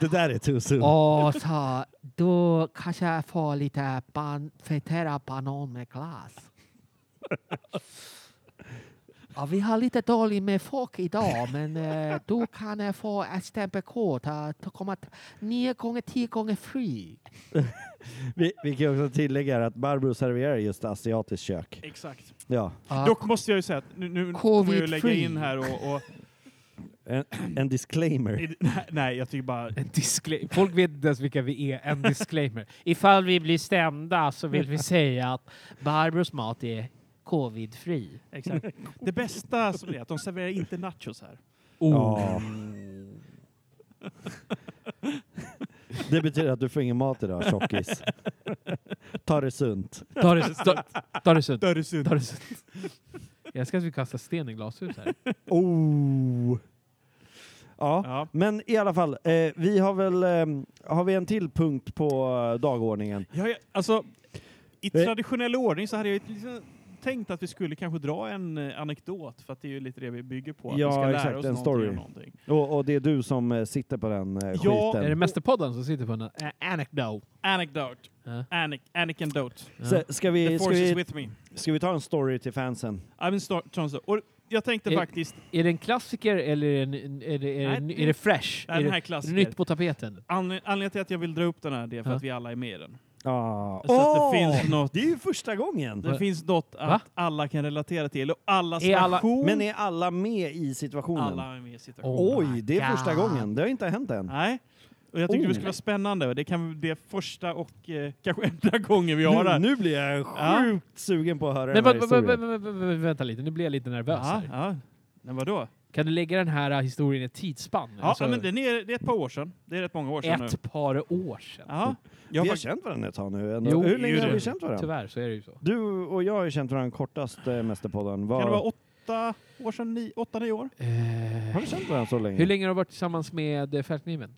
E: Det där är too soon.
F: Och så då kanske jag får lite ban friterad banan med glass. Ja, vi har lite dåligt med folk idag, men eh, du kan jag få ett stämpelkort. eh, då kommer t- Nio gånger tio gånger fri.
E: Vi, vi kan ju också tillägga här att Barbro serverar just asiatiskt kök.
C: Exakt.
E: Ja.
F: Ja,
C: Dock måste jag ju säga att nu, nu kommer jag ju lägga in här och... och
E: En, en disclaimer.
C: nej, nej, jag tycker bara...
D: En disclaim- Folk vet inte ens vilka vi är. En disclaimer. Ifall vi blir stämda så vill vi säga att Barbros mat är covidfri.
C: Exakt. Det bästa som är att de serverar inte nachos här.
D: Oh,
E: Ja. Det betyder att du får ingen mat idag, tjockis. Ta det sunt.
D: Ta det, ta, ta det sunt.
C: Dörrsund.
D: Ta det sunt. Jag älskar att vi kastar sten i glashus här.
E: Mm. Oh. Ja.
C: Ja.
E: Men i alla fall, eh, vi har väl, ehm, har vi en till punkt på eh, dagordningen?
C: Ja, ja, alltså, I
E: Eh.
C: traditionell ordning så hade jag ju liksom tänkt att vi skulle kanske dra en eh, anekdot, för att det är ju lite det vi bygger på. Att
E: Ja,
C: vi ska lära
E: exakt,
C: oss
E: en
C: någonting
E: story.
C: och Någonting.
E: Och, och det är du som eh, sitter på den eh,
C: Ja.
D: Är
E: skiten.
D: det Mästerpodden som sitter på en ä- anecdote?
C: Anecdote.
E: Eh.
D: Ja.
C: Anic anecdote.
E: Så, ska,
C: The
E: vi, ska,
C: force is
E: vi,
C: with me.
E: ska vi ta en story till fansen?
C: I'm start, och jag tänkte
D: Eh,
C: faktiskt,
D: Är det en klassiker eller är det, en, är det, är det,
C: Nej,
D: är det fresh?
C: den
D: är
C: här
D: det
C: klassiker.
D: nytt på tapeten?
C: anle- anledningen till att jag vill dra upp den här det är för
D: Ja.
C: att vi alla är med i den. Så
E: Ah.
C: att det
E: Åh!
C: finns något,
E: Det är ju första gången!
C: det finns något att
D: Va?
C: alla kan relatera till och allas
D: Är alla-
C: version.
E: Men är alla med i situationen?
C: alla är med i situationen.
D: Oh
E: Oj,
D: my
E: det är första
F: God.
E: gången. Det har inte hänt än.
C: Nej. Och jag tyckte
E: Oh.
C: det skulle vara spännande. och Det, kan, det är första och eh, kanske enda gången vi har det
E: Nu,
C: här.
E: nu blir jag
C: Ja.
E: sjukt sugen på att höra
D: Nej,
E: den här
D: vä- vä-
E: historien.
D: vä- vä- vä- vä- vänta lite, nu blir jag lite nervös
C: Ja,
D: här.
C: ja. Men vadå?
D: Kan du lägga den här eh, historien i ett tidsspann? Alltså-
C: Ja, men den är, det är ett par år sedan. Det är rätt många år sedan nu.
D: ett par år sedan.
C: Ja, jag
E: Vi har
C: fakt-
E: känt varandra ett tag nu. Ändå.
D: Jo,
E: Hur länge
C: ju
E: har vi
C: det.
E: känt varandra?
D: Tyvärr så är det ju så.
E: Du och jag har ju känt varandra kortast, eh, Mästerpodden. Var,
C: kan det vara åtta år sedan? Ni, åtta, nio år?
E: har vi känt varandra så länge?
D: hur länge har du varit tillsammans med eh, Färdkniven?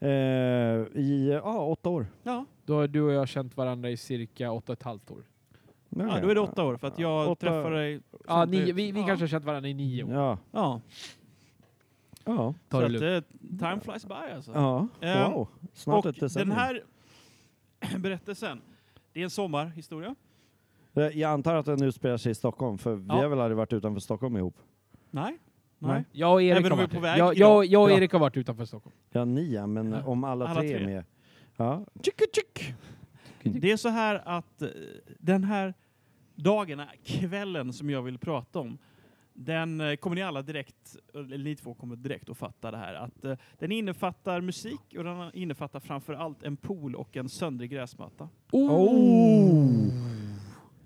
E: Eh, I, ja, åtta år.
C: Ja,
D: Då har du och jag känt varandra i cirka åtta och ett halvt år.
C: ja då är det åtta år. För att jag
E: Åtta-
C: träffade dig...
D: Ja, nio, vi vi
C: Ja.
D: kanske har känt varandra i nio år.
E: Ja.
C: Ja,
E: Ja.
D: Ta
C: så
D: det
C: att,
D: lugnt.
C: eh, time flies by alltså.
E: ja.
C: Ehm,
E: Wow. Snart ett
C: Och
E: decennium.
C: den här berättelsen, det är en sommarhistoria.
E: Eh, Jag antar att den utspelar sig i Stockholm, för vi
D: Ja.
E: har väl aldrig varit utanför Stockholm ihop?
C: Nej.
E: Nej.
C: Nej.
D: Jag och Erik
C: Även
D: har
C: om vi
D: varit
C: är på
D: det.
C: väg
D: jag,
C: idag.
D: jag, jag och
E: Ja.
D: Erik har varit utanför Stockholm.
E: Ja, ni ja, men
D: Ja.
E: om alla,
C: Alla
E: tre är
C: tre.
E: med. Ja.
C: Det är så här att eh, den här dagen, den här kvällen som jag vill prata om, den eh, kommer ni alla direkt, eller ni två kommer direkt att fatta det här, att eh, den innefattar musik och den innefattar framför allt en pool och en söndrig gräsmatta.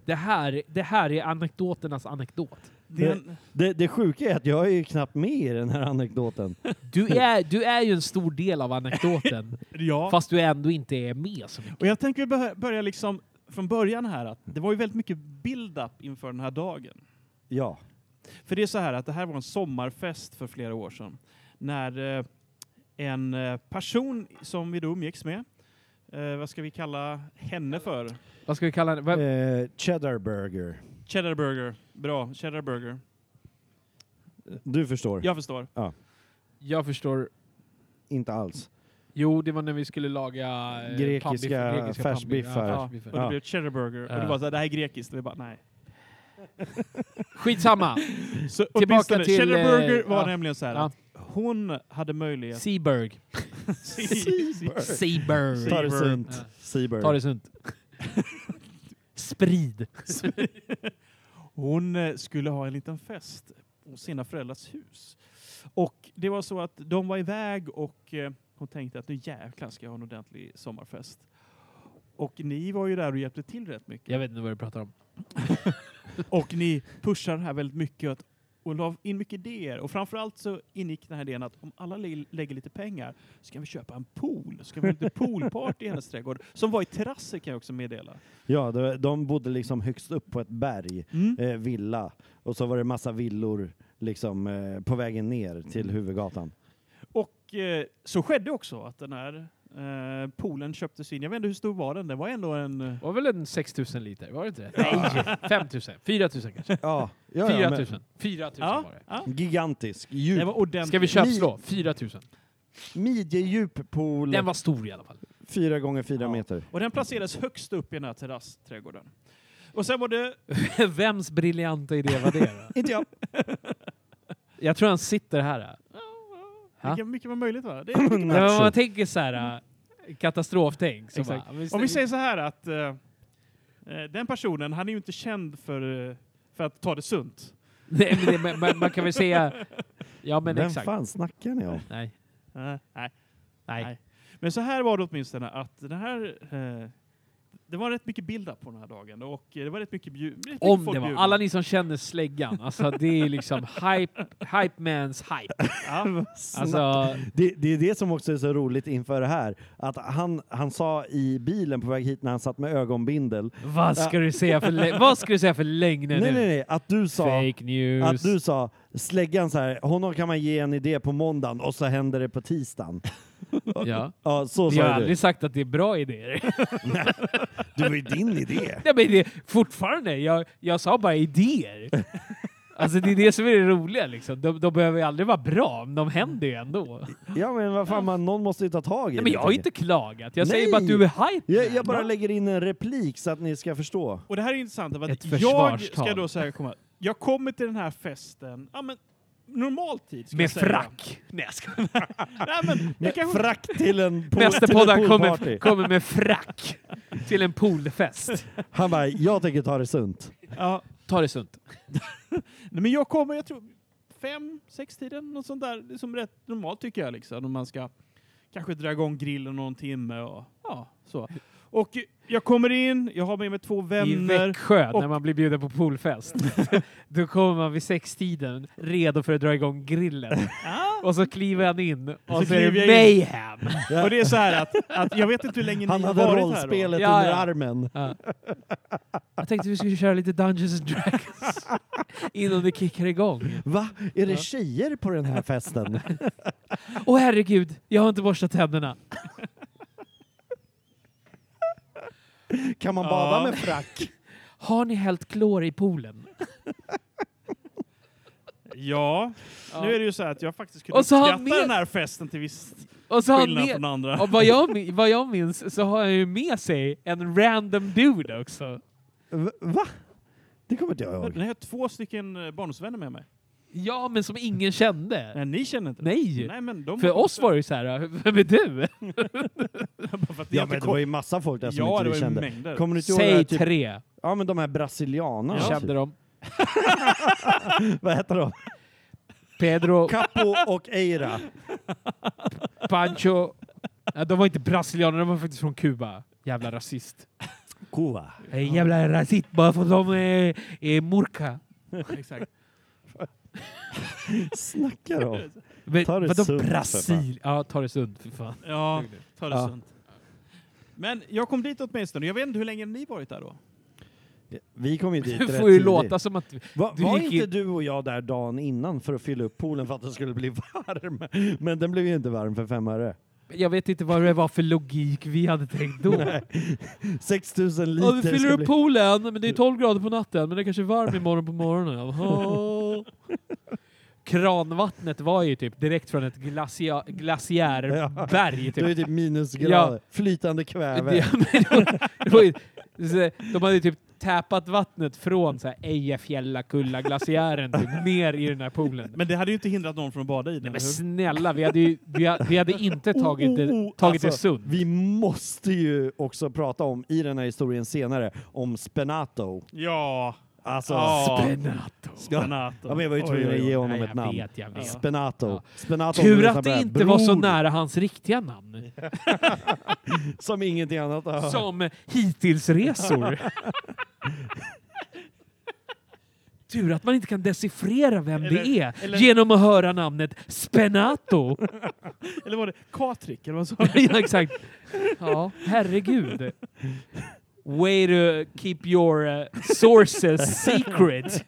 D: Det, här, det här är anekdoternas anekdot.
C: Det är en,
E: Det, det sjuka är att jag är ju knappt med i den här anekdoten.
D: Du är, du är ju en stor del av anekdoten,
C: ja.
D: fast du ändå inte är med så mycket.
C: Och jag tänker börja- börja liksom från början här, att det var ju väldigt mycket build-up inför den här dagen.
E: Ja.
C: För det är så här att det här var en sommarfest för flera år sedan. När eh, en eh, person som vi då umgicks med, eh, vad ska vi kalla henne för?
D: Vad ska vi kalla det?
E: Eh, cheddar burger.
C: Cheddar burger. Bra, cheddar burger.
E: Du förstår.
C: Jag förstår.
D: Jag förstår.
E: Inte alls.
D: Jo, det var när vi skulle laga eh,
E: Grekiska
D: pannbiff- grekiska
E: färsbiffar.
D: pannbiff-
E: Ja.
D: Ja, färsbiffar.
C: Och det
E: Ja.
C: blev cheddar burger. Och
D: Ja.
C: det var så här, det här är grekiskt. Och vi bara, nej.
D: Skitsamma.
C: Så
D: Tillbaka
C: åtminstone,
D: till,
C: cheddar burger
D: eh,
C: var
D: ja.
C: nämligen så här
D: Ja.
C: att hon hade möjlighet...
D: Seaburg. Seaburg.
E: Ta det sunt.
D: Ja.
E: Seaburg.
D: Ta det sunt. Sprid.
C: Hon eh, skulle ha en liten fest på sina föräldrars hus. Och det var så att de var iväg och eh, hon tänkte att nu jäklar ska jag ha en ordentlig sommarfest. Och ni var ju där och hjälpte till rätt mycket.
D: Jag vet inte vad du pratar om.
C: Och ni pushade det här väldigt mycket att, och la in mycket idéer. Och framförallt så ingick den här idén att om alla lä- lägger lite pengar så kan vi köpa en pool. Så kan vi ha lite poolparty i hennes trädgård. Som var i terrasser kan jag också meddela.
E: Ja, de, de bodde liksom högst upp på ett berg,
C: Mm.
E: eh, villa. Och så var det massa villor liksom eh, på vägen ner till
D: Mm.
E: huvudgatan.
C: Och eh, så skedde också att den här eh, poolen köptes in. Jag vet inte hur stor var den? Den var ändå en... eh,
D: Det var väl en 6000 liter? Var det inte det? Nej! 5000. 4000 kanske.
E: Ja, ja, ja
D: 4000. 4000
C: Ja,
D: var det.
C: ja.
E: men, gigantisk,
C: Det
E: djup,
C: var ordentligt.
D: Ska vi köpslå? 4000.
E: midjedjup pool,
D: Den var stor i alla fall.
E: fyra gånger fyra
C: Ja.
E: meter.
C: Och den placerades högst upp i den här terrassträdgården. Och sen var det...
D: Vems briljanta idé var det? Då?
E: Inte jag.
D: Jag tror han sitter här. Ja.
C: Vilket mycket var möjligt va? Det är mycket
D: Men om man tänker så här äh, katastroftänk. Så
C: Exakt.
D: bara, vi,
C: Om vi säger så här att eh, eh, den personen, han är ju inte känd för, eh, för att ta det sunt.
D: Nej, men det, man- man, man kan väl säga... Ja, men
E: Vem
D: exakt.
E: fan snackar ni om?
D: Nej.
C: Eh, nej.
D: Nej.
C: Nej. Men så här var det åtminstone att den här... Eh, det var rätt mycket build-up på den här dagen och eh, det var rätt mycket bjud... rätt mycket
D: Om
C: folk
D: det var.
C: bjudna.
D: Alla ni som känner släggan. Alltså det är liksom hype, hype mans hype.
C: Ja.
D: Alltså,
E: Det, det är det som också är så roligt inför det här. Att han, han sa i bilen på väg hit när han satt med ögonbindel.
D: vad ska du säga för, lä- vad ska du säga för lögner
E: Nej, nej,
D: nu?
E: nej. Att du sa,
D: Fake news.
E: att du sa släggan så här, honom kan man ge en idé på måndagen och så händer det på tisdagen.
D: Ja.
E: Ja, så
D: Jag har
E: sa du.
D: aldrig sagt att det är bra idéer.
E: Det var ju din idé.
D: Nej, men det, fortfarande, jag, jag sa bara idéer. Alltså det är det som är det roliga liksom. De, de behöver ju aldrig vara bra, men de händer ju ändå.
E: Ja, men vad fan, man, någon måste ju ta tag
D: Nej,
E: i det,
D: men jag har
E: tänker
D: inte klagat. Jag
E: Nej.
D: säger bara att du är hype.
E: jag. Jag, jag bara lägger in en replik så att ni ska förstå.
C: Och det här är intressant, för
D: Ett
C: att jag
D: försvarstal.
C: ska då säga, komma, jag kommer till den här festen, ja men normal tid ska
D: Med
C: jag säga.
D: frack. Nej, jag skojar.
C: Nej, men, jag kanske,
E: Frack till en pool, till
D: Mästerpodden
E: en
D: kommer,
E: poolparty.
D: kommer med frack till en poolfest.
E: Han bara, jag tänker ta det sunt.
C: ja,
D: Ta det sunt.
C: nej, men jag kommer, jag tror fem, sex tiden, något sånt där. Det är som rätt normalt tycker jag liksom. Om man ska kanske dra igång grillen någon timme och ja, så. Och jag kommer in, jag har med mig två
D: I
C: vänner.
D: Växjö,
C: och-
D: när man blir bjuden på poolfest. Då kommer man vid sextiden, redo för att dra igång grillen. Och så kliver han in och så, är
C: Ah. kliver
D: det
C: jag in.
D: mayhem.
C: Och det är så här att, att jag vet inte hur länge
E: Han
C: ni har
E: hade
C: varit här.
E: rollspelet
D: då. Ja,
E: under
D: ja.
E: armen.
D: Jag tänkte vi skulle köra lite Dungeons and Dragons innan det kickar igång.
E: Va? Är det tjejer på den här festen?
D: Åh herregud, jag har inte borstat tänderna.
E: Kan man
C: Ja.
E: bada med frack?
D: Har ni hällt klor i poolen?
C: då. Ja.
D: Ja.
C: nu är det ju så här att jag faktiskt kunde
D: Och så har han
C: uppskatta
D: med-
C: den här festen till viss
D: Och så har han
C: skillnad
D: med,
C: från andra.
D: och vad, jag, mi- vad jag minns så har han ju med sig en random dude också.
E: V- Va? Det kommer inte jag ihåg.
C: Jag har två stycken eh, barndomsvänner med mig.
D: Ja, men som ingen kände.
C: Nej, ni känner inte
D: Nej.
C: Nej men de
D: För oss var det ju så här, vem är du?
C: För att ni
E: Ja,
C: inte
E: men det
C: kom-
E: var ju massa folk där som
C: Ja, det
E: inte vi
C: var ju
E: kände.
C: mängder.
E: Kommer du inte ihåg det här,
D: Säg
E: typ,
D: tre.
E: Ja, men de här brasilianarna.
C: Ja.
D: Kände de.
E: Typ. Vad heter de?
D: Pedro,
E: Capo och Eira.
D: Pancho. Ja, de var inte brasilianer, de var faktiskt från Kuba. Jävla rasist.
E: Cuba.
D: Eh, Jävla rasist bara för att de är, är murka.
C: Exakt.
E: Snackar de?
D: Men,
E: Ta det
D: vadå
E: sunt, för
D: Brasil? Ja, ta det sunt för fan.
C: Ja, ta det
E: Ja.
C: sunt. Men jag kom dit åtminstone. Jag vet inte hur länge ni varit där då?
E: Vi kom ju dit
D: Det
E: rätt
D: får ju
E: tidigt.
D: låta som att...
E: Va,
D: Du
E: var
D: gick
E: inte
D: ju-
E: du och jag där dagen innan för att fylla upp poolen för att den skulle bli varm? Men den blev ju inte varm för fem öre.
D: Jag vet inte vad det var för logik vi hade tänkt då.
E: Nej. 6000
D: Ja,
E: liter
D: vi fyller
E: ska
D: upp
E: bli...
D: poolen, men det är 12 grader på natten, men det kanske är varmt imorgon på morgonen. Jaha. Kranvattnet var ju typ direkt från ett glacia- glaciärberg.
E: Det är ju
D: Typ.
E: typ minusgrader.
D: Ja.
E: Flytande kväve.
D: Det- men det var- det var ju- så- De hade ju typ tappat vattnet från så här Ejafjällakulla-glaciären typ, ner i den här poolen.
C: Men det hade ju inte hindrat någon från att bada i den,
D: Men
C: eller hur?
D: snälla, vi hade, ju, vi ha- vi hade inte tagit,
E: Oh, oh,
D: det,
E: oh,
D: tagit det
E: alltså,
D: sunt.
E: Vi måste ju också prata om, i den här historien senare, om Spenato.
C: Ja.
E: Alltså,
C: Ja.
D: Spenato.
E: ja, men jag var
C: Oj,
E: ju tvungen
C: oj,
E: att
C: oj.
E: ge
D: Ja,
E: honom ett
D: jag
E: namn.
D: vet, jag vet.
E: Spenato.
D: Ja.
E: Spenato om du
D: Tur
E: lyssnar
D: att
E: på
D: det
E: här.
D: inte var så
E: Bror,
D: nära hans riktiga namn.
E: Som ingenting annat har hört.
D: Som hitillsresor. Tur att man inte kan decifrera vem det
C: Eller-
D: är
C: eller-
D: genom att höra namnet Spenato.
C: Eller var det Katrik? Eller vad sa du?
D: ja, exakt. Ja, herregud. Way to keep your eh, sources secret.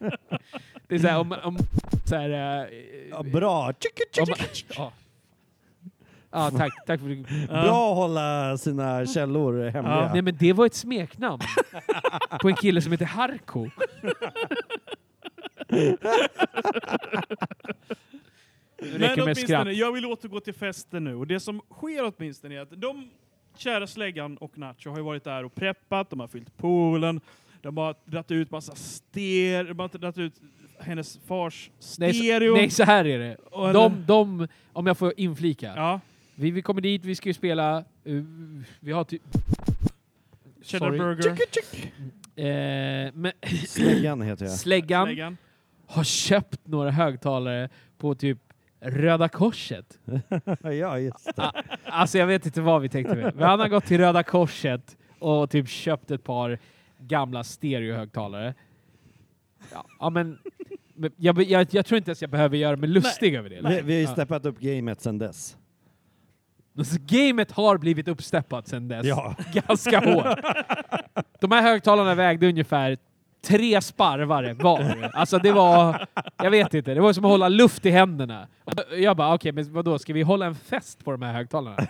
D: Det är så här, om... om så här, eh,
E: Ja, bra. Tjick, tjick,
D: om,
E: tjick.
D: ja. ja, tack. Tack för
E: Bra att hålla sina källor hemliga.
D: Nej men det var ett smeknamn på en kille som heter Harko. Det
C: Men
D: räcker med skratt.
C: åtminstone, jag vill återgå till festen nu. Och det som sker åtminstone är att de kära släggan och Nacho har ju varit där och preppat, de har fyllt poolen, de har dratt ut massa ster, de har dratt ut hennes fars
D: Nej
C: stereo.
D: så, nej, så här är det.
C: Och en-
D: De, de, om jag får inflika.
C: Ja,
D: Vi, vi kommer dit, vi ska ju spela... eh, vi har typ...
C: cheddar
D: Sorry.
C: burger,
D: Eh, men
E: Släggan heter jag.
D: släggan
C: släggan.
D: har köpt några högtalare på typ Röda Korset.
E: Ja, just det.
D: Alltså jag vet inte vad vi tänkte med. Men han har gått till Röda Korset och typ köpt ett par gamla stereohögtalare. Ja, ja men... men Jag, jag, jag tror inte ens jag behöver göra mig lustig över det.
E: Ah, Vi, vi har ju
D: Ja.
E: steppat upp gamet sen dess.
D: Så gamet har blivit uppsteppat sedan dess.
E: Ja.
D: Ganska hårt. De här högtalarna vägde ungefär tre sparvare var. Alltså det var, jag vet inte, det var som att hålla luft i händerna. Och Jag bara okej, men vadå, ska vi hålla en fest på de här högtalarna?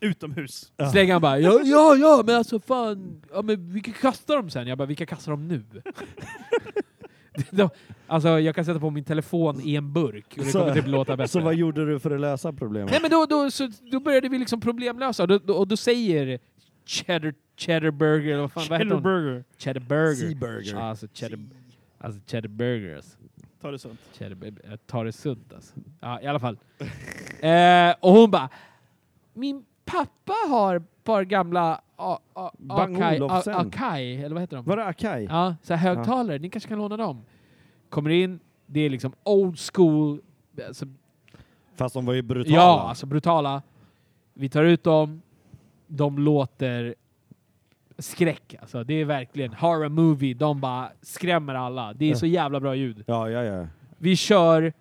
C: Utomhus.
D: Släggan bara ja, ja, ja, men alltså fan, ja, men vi kan kasta dem sen. Jag bara, vi kan kasta dem nu. De, alltså jag kan sätta på min telefon i en burk och det
E: Så-
D: kommer typ låta bättre.
E: Så vad gjorde du för att lösa problemet?
D: Nej men då, då, så, då började vi liksom problemlösa och då, då, och då säger cheddar, cheddar burger, eller vad fan vad heter
C: Cheddar
D: hon?
C: burger.
D: Cheddar burger.
E: Seaburger.
D: Ja, alltså cheddar, alltså cheddar burger. Alltså.
C: Ta det sunt.
D: Cheddar, bur- jag tar det sunt alltså. Ja, i alla fall. eh, och hon bara, min pappa har ett par gamla A- A-
E: Bang
D: Akai, A-
E: Olofsen.
D: Akai, eller vad heter de?
E: Var det Akai?
D: Ja, så här högtalare. Ni kanske kan låna dem. Kommer in, det är liksom old school, alltså
E: Fast de var ju brutala.
D: Ja, alltså brutala. Vi tar ut dem. De låter skräck alltså. Det är verkligen horror movie. De bara skrämmer alla. Det är så jävla bra ljud.
E: Ja, ja, ja.
D: Vi kör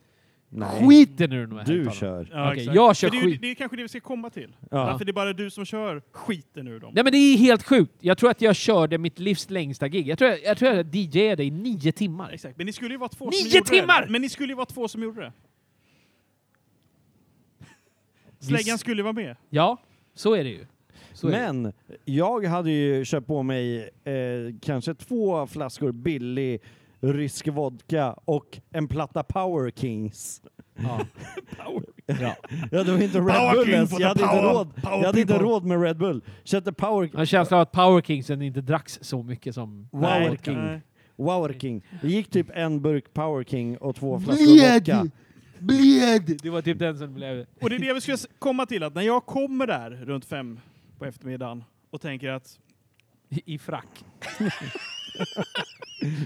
E: Nej.
D: skiten ur de här
E: Du
D: högtalarna.
E: kör.
C: Ja,
D: Okej,
C: exakt.
D: jag kör
C: Men det, är ju-
D: skit.
C: det är kanske det vi ska komma till.
E: Ja.
C: Varför det är bara du som kör skiten ur dem.
D: Nej men det är helt sjukt. Jag tror att jag körde mitt livs längsta gig. Jag tror jag, jag, tror jag DJade i nio timmar.
C: Exakt. Men ni skulle ju vara två
D: Nio
C: som gjorde
D: timmar!
C: Det. Men ni skulle ju vara två som gjorde det.
D: Vi-
C: Släggan skulle vara med.
D: Ja, så är det ju. Så är det.
E: Men jag hade ju köpt på mig eh, kanske två flaskor billig rysk vodka och en platta Power Kings.
D: Ja. Ja.
E: Ja, det var inte Red
C: Power
E: Bull
C: King
E: ens.
C: for
E: Jag hade,
C: the
E: inte
C: power-
E: råd.
C: power
E: jag hade inte
C: people.
E: råd med Red Bull. Köpte Power,
D: Jag har en känsla av att Power Kingsen inte dracks så mycket som...
E: Power
C: Nej,
E: King.
C: nej.
E: Power King. Det gick typ en burk Power King och två flaskor vodka.
F: Bled! Bled!
D: Det var typ den som blev...
C: Och det är det vi ska s- komma till, att när jag kommer där runt fem på eftermiddagen och tänker att
D: I, i frack.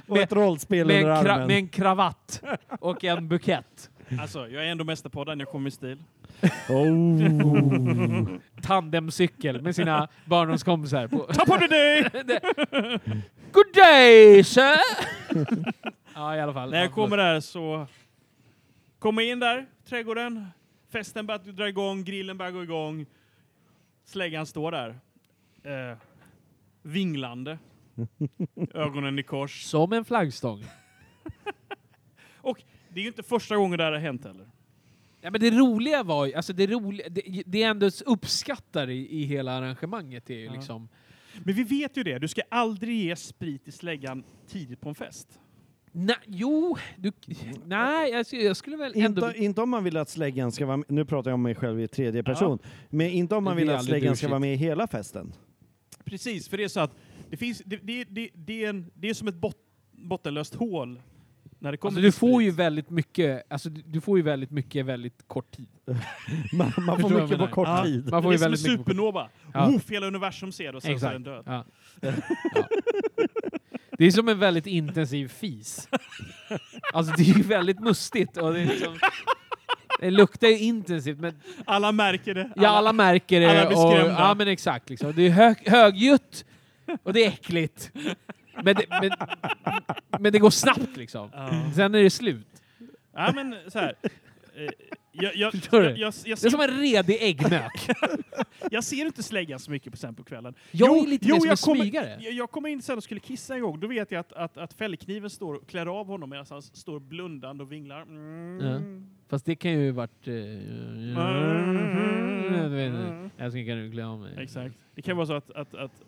E: Och ett rollspel
D: Med
E: under
D: en, kra-
E: armen.
D: med en kravatt och en bukett.
C: alltså, jag är ändå mästerpodden, jag kommer i stil.
E: Oh.
D: Tandemcykel med sina barndomskompisar. På.
C: Ta på dig det!
D: Good day sir! ja i alla fall.
C: När jag kommer där så... Kommer in där, trädgården. Festen börjar dra igång, grillen börjar gå igång. Släggan står där. Eh, vinglande. Ögonen i kors.
D: Som en flaggstång.
C: Det är ju inte första gången det här har hänt heller.
D: Ja, men det roliga var ju, alltså det, roliga, det, det jag ändå uppskattar i, i hela arrangemanget är ju
C: Ja.
D: liksom...
C: Men vi vet ju det, du ska aldrig ge sprit i släggan tidigt på en fest.
D: Nej, jo, du, nej, jag, skulle- jag skulle väl ändå...
E: Inte, inte om man vill att släggan ska vara med, nu pratar jag om mig själv i tredje person, men inte om man
D: Det
E: vill
D: är
E: att
D: aldrig
E: släggan
D: du
E: ska
D: shit.
E: vara med i hela festen.
C: Precis, för det är så att det, finns, det, det, det, det, är, en, det är som ett bot, bottenlöst hål. När det kommer
D: Alltså,
C: till
D: du får
C: sprit.
D: ju väldigt mycket, alltså, du, du får ju väldigt mycket väldigt kort tid.
E: Man, man
D: Förstår
E: får
D: vad
E: mycket
D: jag
E: på
D: menar?
E: kort
C: Ja.
E: tid.
D: Man får
C: det
D: ju
C: är som en
D: väldigt mycket kort-
C: supernova.
D: Ja.
C: Woof, hela universum ser det och sen så är den död.
D: Ja. Ja. Det är som en väldigt intensiv fis. Alltså det är ju väldigt mustigt och det, är liksom, det luktar ju intensivt men
C: Alla märker det.
D: ja, alla märker det.
C: alla blir
D: och,
C: skrämda.
D: ja men exakt. Liksom. Det är hög, högljutt och det är äckligt. Men det, men, men det går snabbt liksom.
C: Ja.
D: Sen är det slut.
C: Ja, men så här. Eh, Jag, jag,
D: Förstår du?
C: jag, jag, jag,
D: Det är som
C: ser,
D: en redig äggmök.
C: jag ser inte släggan så mycket på sen på kvällen.
D: Jag är lite mer som en
C: kommer,
D: smygare.
C: Jag, jag kommer in sen och skulle kissa en gång. Då vet jag att, att, att fällkniven står och klär av honom medan han står blundande och vinglar. Mm.
D: Fast det kan ju varit... eh, Jag vet
C: Mm.
D: inte. Jag ska kan du glömma mig.
C: Exakt. Det kan vara så att, att, att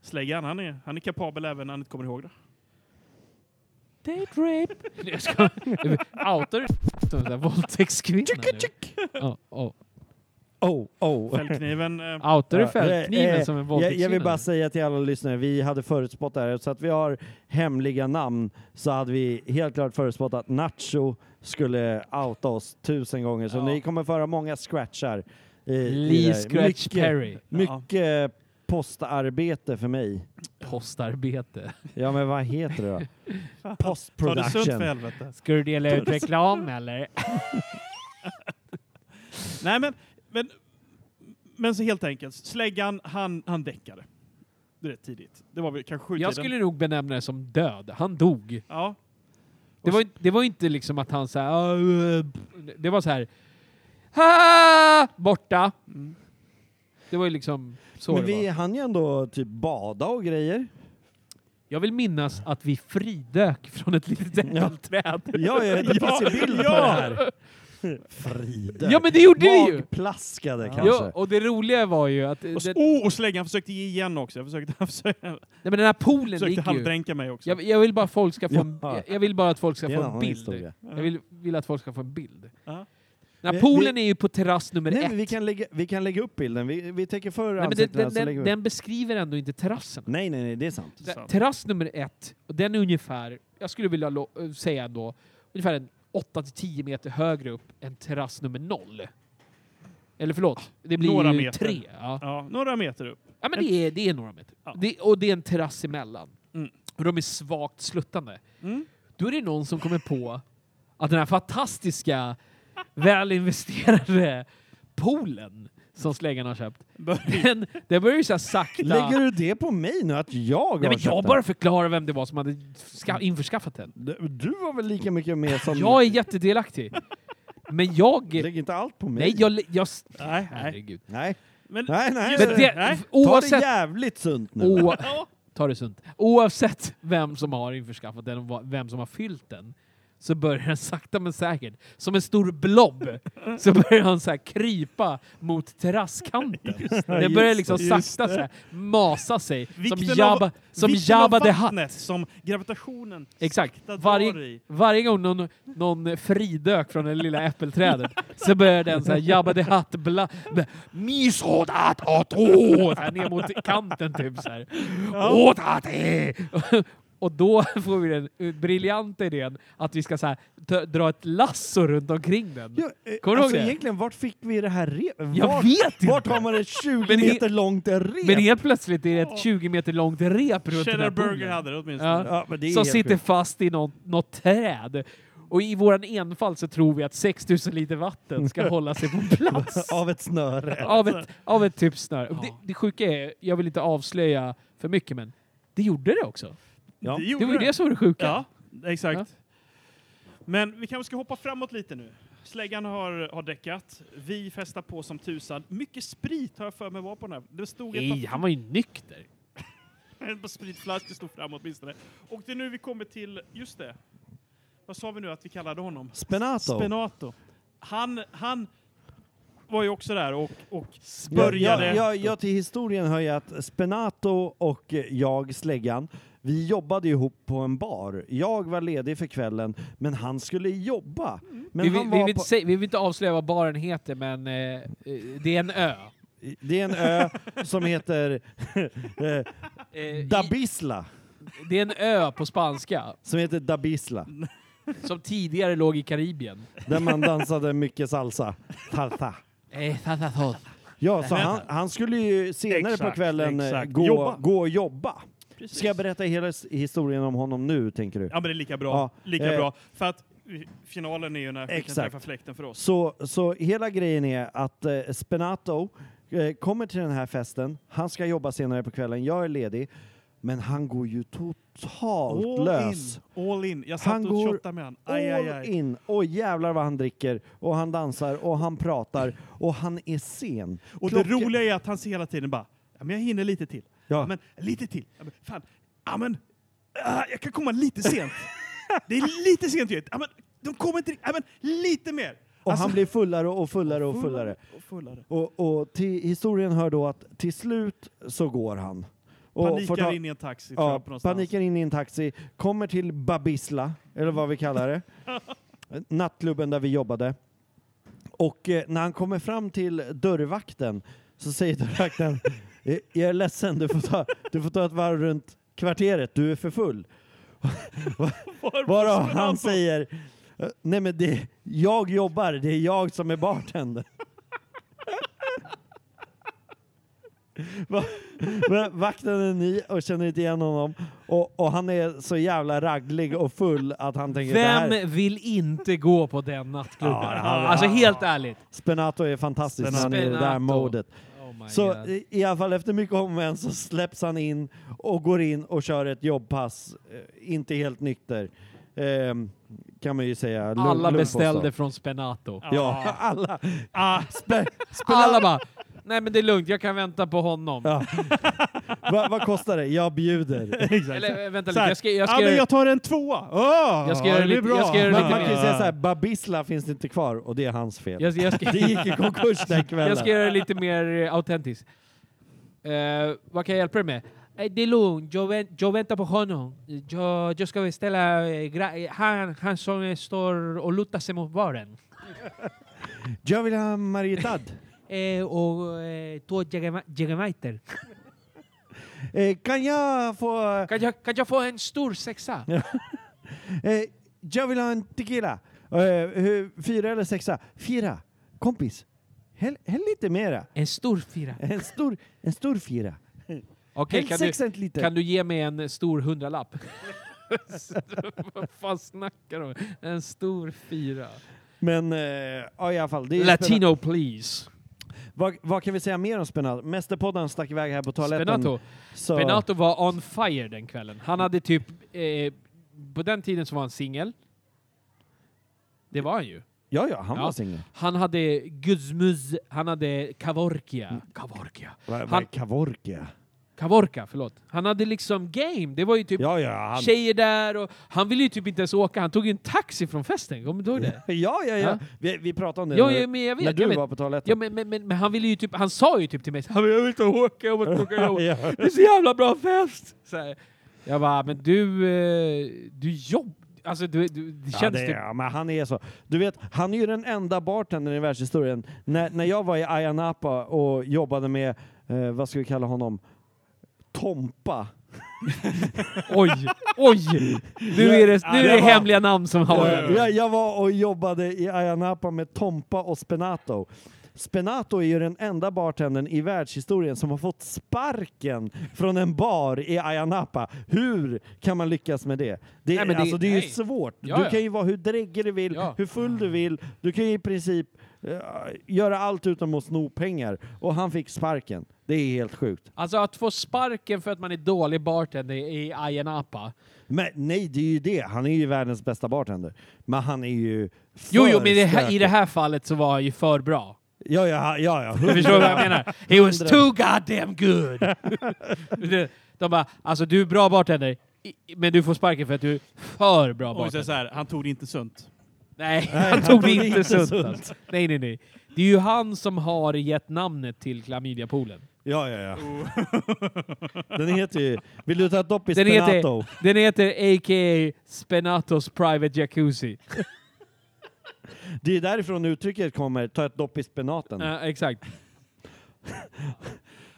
C: släggan, han är, han är kapabel även när han inte kommer ihåg det.
D: Date rape. Jag ska, outar du som en våldtäktskvinna nu? Ja, ja.
E: Oh, oh.
C: Fällkniven. eh,
D: Outar du
E: Ja, eh,
D: fällkniven som en
E: Jag,
D: våldtäktskvinna?
E: jag vill bara
D: nu?
E: säga till alla lyssnare, vi hade förutspått det här, så att vi har hemliga namn så hade vi helt klart förutspått att Nacho skulle outa oss tusen gånger. Så
C: Ja.
E: ni kommer föra många scratchar. i- i det
D: Lee
E: här.
D: Scratch
E: mycket,
D: Perry.
E: Mycket postarbete för mig.
D: Postarbete.
E: Ja, men vad heter det då?
C: Ta det sunt för
E: Postproduction.
C: helvete.
D: Ska du dela ut reklam eller?
C: Nej, men, men, men så helt enkelt. Släggan, han, han däckade. Det är rätt tidigt. Det var väl kanske sjutiden.
D: Jag skulle nog benämna det som död. Han dog.
C: Ja.
D: Det var, ju- det var ju inte liksom att han så här... "Ah, eh, pff." Det var så här... "Ah!" Borta. Det var ju liksom så
E: Men
D: det
E: vi
D: var.
E: hann ju ändå typ bada och grejer.
D: Jag vill minnas att vi fridök från ett litet äppelträd.
E: Ja, ja det
C: Ja,
E: finns ju bild på
C: ja.
E: det här. Frida.
D: Ja men det gjorde vi ju!
E: Magplaskade kanske.
D: Ja, och det roliga var ju att eh,
C: Och,
D: den,
C: så,
D: nej,
C: oh, och släggan försökte ge igen också. Jag försökte, jag försökte,
D: men den här poolen
C: försökte
D: gick ju.
C: halvdränka mig också.
D: Jag, jag vill bara att folk ska få en,
E: Ja.
D: jag- jag vill bara att folk ska
E: Det är
D: få
E: en
D: en
E: annan
D: bild.
E: historia.
D: Jag vill, vill att folk ska få en bild.
C: Ja.
D: Den
E: Vi-
D: här poolen är ju på terrass nummer
E: Nej,
D: ett.
E: men vi, kan lägga, vi kan lägga upp bilden. Vi, vi täcker för
D: Nej, men den,
E: ansiktena
D: den,
E: så lägger
D: den,
E: vi upp.
D: den beskriver ändå inte terrassen.
E: Nej, nej, nej, det är sant.
D: Den-
C: sant.
D: Terrass nummer ett, och den är ungefär, jag skulle vilja lo- eh, säga ändå, ungefär en 8-10 meter högre upp än terrass nummer noll. Eller förlåt, det blir
C: Några
D: ju
C: meter.
D: tre. Ja.
C: Ja, några meter upp.
D: Ja, men det är, det är några meter.
C: Ja.
D: Det, och det är en terrass emellan.
C: Mm.
D: Och de är svagt sluttande.
C: Mm.
D: Då är det någon som kommer på att den här fantastiska, välinvesterade poolen som släggan har köpt.
C: Börje.
D: Den, den börjar ju så här sakta...
E: Lägger du det på mig nu, att jag
D: Nej,
E: har
D: men jag
E: köpt
D: bara förklarar vem det var som hade
C: Mm.
D: ska- införskaffat den.
E: den? Du var väl lika mycket med som...
D: Jag är jättedelaktig. Men jag...
E: Lägg inte allt på mig.
D: Nej, jag... jag
C: Nej, nej.
D: herregud.
E: Nej,
C: Men,
E: nej, nej.
C: Just
D: Men det,
C: Nej.
E: Ta det
D: oavsett...
E: jävligt sunt nu.
D: O, ta det sunt. Oavsett vem som har införskaffat den och va- vem som har fyllt den så börjar den sakta men säkert, som en stor blob, så börjar han så här krypa mot terrasskanten. Den börjar liksom
C: just det.
D: sakta så här masa sig, som
C: Vikten av-
D: Jabba, som
C: vikten av
D: Jabba the Hutt.
C: vattnet Som gravitationen
D: Exakt.
C: sakta drar
D: Varje,
C: i.
D: varje gång någon, någon fridök från det lilla äppelträdet så börjar den så här Jabba the Hutt bla... bla- Misodat åt å- så här ner mot kanten typ så här. Åt att e. Och då får vi den eh, briljanta idén att vi ska så här, t- dra ett lasso runt omkring den.
E: Ja, eh,
D: Kommer du
E: alltså
D: ihåg det?
E: egentligen, vart fick vi det här repet?
D: Jag
E: vart,
D: vet inte.
E: Vart har man ett 20
D: Men he-
E: meter långt rep?
D: Men helt plötsligt är det ett 20 meter långt rep runt den här
C: Cheddar Burger
D: poolen.
C: hade det åtminstone.
D: Ja.
E: ja, men det är
D: som
E: helt
D: sitter
E: sjukt.
D: fast i något, något träd. Och i våran enfald så tror vi att 6000 liter vatten ska hålla sig på plats.
E: Av ett snöre.
D: av, ett, av ett typ snör. Det, det sjuka är, jag vill inte avslöja för mycket men, det gjorde det också.
E: Ja.
C: Det
D: Det
C: gjorde
D: var ju det som var det sjuka.
C: Ja, exakt. Men vi kanske ska hoppa framåt lite nu. Släggan har, har däckat. Vi festar på som tusan. Mycket sprit har jag för mig var på den här. Det stod ett
D: Nej,
C: par-
D: han var ju nykter.
C: En spritflaska stod fram åtminstone. Och det är nu vi kommer till, just det. Vad sa vi nu att vi kallade honom?
E: Spenato.
C: Spenato. Han, han var ju också där och, och
E: Jag,
C: började...
E: jag, jag, jag till historien hör ju att Spenato och eh, jag, Släggan, vi jobbade ihop på en bar. Jag var ledig för kvällen, men han skulle jobba. Men
D: Vi vill,
E: han
D: vi,
E: var
D: vill
E: på,
D: inte säga, vi vill inte avslöja vad baren heter men eh, eh, det är en ö.
E: det är en ö som heter eh,
D: Eh, i-
E: Dabisla.
D: det är en ö på spanska
E: Som heter Dabisla.
D: som tidigare låg i Karibien.
E: Där man dansade mycket salsa. Salsa.
D: Eh, sa- sa- sa.
E: Ja, så han, han skulle ju senare på
C: Exakt,
E: kvällen eh,
C: exakt.
E: Gå,
C: Jobba.
E: gå och jobba.
C: Precis.
E: Ska jag berätta hela s- historien om honom nu, tänker du?
C: Ja, men det är lika bra.
E: Ja,
C: lika
E: eh,
C: bra. För att eh, finalen är ju när vi kan
E: Exakt.
C: träffa fläkten för oss.
E: Så, så hela grejen är att eh, Spenato eh, kommer till den här festen. Han ska jobba senare på kvällen. Jag är ledig. Men han går ju totalt lös.
C: in. All in. Jag satt
E: Han
C: och
E: går
C: shottade med han. Aj, aj,
E: All
C: aj.
E: in. Och jävlar vad han dricker. Och han dansar och han pratar. Och han är sen.
C: Och det
E: Klockan-
C: roliga är att han ser hela tiden bara, ja, men jag hinner lite till.
E: Ja.
C: Ja. Men lite till. Ja, men, fan. Ja, men, ah, jag kan komma lite sent. det är lite sent ju. Ja, men, de kommer inte rikt- ja, men, lite mer.
E: Och
C: Alltså,
E: han blir fullare och fullare och fullare.
C: Och fullare.
E: Och, och till historien hör då att till slut så går han. Och
C: Panikar
E: får ta-
C: in i en taxi. tror
E: ja,
C: jag, på någonstans.
E: panikar in i en taxi, kommer till Babisla, eller vad vi kallar det. Nattklubben där vi jobbade. Och eh, när han kommer fram till dörrvakten så säger dörrvakten "Eh, Jag är ledsen, du får ta, du får ta ett varv runt kvarteret, du är för full. Varav han säger "Eh, Nej men det, jag jobbar, det är jag som är bartender. Va- va- Vakten är ny och känner inte igen honom och, och han är så jävla ragglig och full att han tänker det här,
D: Vem vill inte gå på den nattklubben?
E: Ja, det hade-
D: Alltså helt ärligt.
E: Spenato är fantastisk när han är i det där
D: Spenato.
E: modet.
D: Oh my
E: Så
D: God.
E: i, i alla fall efter mycket om och men så släpps han in och går in och kör ett jobbpass, eh, inte helt nykter. Ehm, kan man ju säga. Lugn-
D: Alla
E: lugn
D: beställde
E: påstå.
D: från Spenato.
E: Ja, alla.
C: Ah,
E: Spe,
D: Alla bara, nej men det är lugnt, jag kan vänta på honom.
E: Ja. Va, vad kostar det? Jag bjuder.
C: exakt.
D: Eller eh, vänta
C: Så
D: lite,
C: här,
D: jag ska, jag
C: ja,
D: ska,
C: men
D: göra-
C: jag tar en tvåa. Oh,
D: Jag ska göra lite- jag ska göra
E: Man,
D: lite
E: man kan ju
D: mer.
E: säga så här, Babisla finns det inte kvar och det är hans fel.
D: jag, jag, ska,
E: Det gick i konkurs den kvällen.
D: jag ska göra det lite mer eh, autentiskt. Eh, vad kan jag hjälpa dig med? Eh, Det är lugnt, jag, vänt, jag väntar på honom. Jag, jag ska beställa eh, gra- eh, han, han som eh, står och lutar sig mot baren.
E: Jag vill ha Marietad.
D: Eh, och eh, två jagema- jagemajter.
E: Eh, kan jag få...
D: Kan jag, kan jag få en stor sexa?
E: Eh, jag vill ha en tequila. Eh, hur- fyra eller sexa? Fyra. Kompis, häll, häll lite mera.
D: En stor fyra.
E: En stor, en stor fyra.
D: Okej,
E: Häll
D: kan du,
E: sex centiliter.
D: Kan du ge mig en stor hundralapp? Vad fan snackar du om? En stor fyra.
E: Men eh, ja, i alla fall. Det är
D: Latino please.
E: spännande. Vad, vad kan vi säga mer om Spenato? Mästerpodden stack iväg här på toaletten.
D: Spenato.
E: Så,
D: Benato var on fire den kvällen. Han hade typ... Eh, på den tiden så var han singel. Det var han ju.
E: Ja, ja, han
D: Ja.
E: var singel.
D: Han hade Guzmuz, han hade Kavorkia. Kavorkia.
E: Mm. Vad vad
D: Han-
E: är Kavorkia?
D: Kavorka, förlåt. Han hade liksom game. Det var ju typ
E: Ja, ja, han...
D: tjejer där och han ville ju typ inte ens åka. Han tog ju en taxi från festen, kommer du ihåg det?
E: Ja, ja,
D: Ja.
E: ja. Vi, vi pratade om det
D: Ja,
E: när,
D: ja men jag vet.
E: när du
D: jag vet.
E: var på toaletten.
D: Ja, men, men, men, men han ville ju typ, han sa ju typ till mig han jag vill inte åka, jag vill inte åka, jag vill- det är så jävla bra fest! Så här. Jag bara, men du, eh, du jobb... Alltså du, du, det
E: Ja,
D: känns
E: det,
D: typ...
E: ja, men han är så. Du vet, han är ju den enda bartendern i världshistorien. När, när jag var i Ayia Napa och jobbade med, eh, vad ska vi kalla honom, Tompa.
D: Oj, oj! Nu är det, nu
E: det
D: är det
E: var-
D: hemliga namn som har...
E: Eh, Jag, jag var och jobbade i Ayia Napa med Tompa och Spenato. Spenato är ju den enda bartendern i världshistorien som har fått sparken från en bar i Ayia Napa. Hur kan man lyckas med det? Det,
D: Nej,
E: nej,
D: men det-
E: alltså, det är ju
D: nej.
E: svårt.
D: Ja,
E: du
D: ja.
E: kan ju vara hur dräggig du vill,
D: Ja.
E: hur full du vill. Du kan ju i princip eh, göra allt utom att sno pengar. Och han fick sparken. Det är helt sjukt.
D: Alltså att få sparken för att man är dålig bartender i Ayia Napa.
E: Men nej, det är ju det. Han är ju världens bästa bartender. Men han är
D: Jo,
E: ju
D: jo,
E: för
D: men i det här, i
E: stökig.
D: det här fallet så var han ju för bra.
E: Ja, ja, ja. ja.
D: Du förstår vad jag menar? He was
E: Hundra.
D: too goddamn good! Det- De bara, alltså du är bra bartender, i- men du får sparken för att du är för bra
C: Och så
D: bartender.
C: så här, han tog det inte sunt.
D: Nej, han tog det inte sunt. alltså. Nej, nej, nej. Det är ju han som har gett namnet till klamydiapoolen.
E: Ja, ja, ja. Den heter ju... Vill du ta ett dopp i
D: Den
E: Spenato?
D: heter, den heter a.k.a. Spenatos Private Jacuzzi.
E: Det är därifrån uttrycket kommer, ta ett dopp i spenaten.
D: Ja, exakt.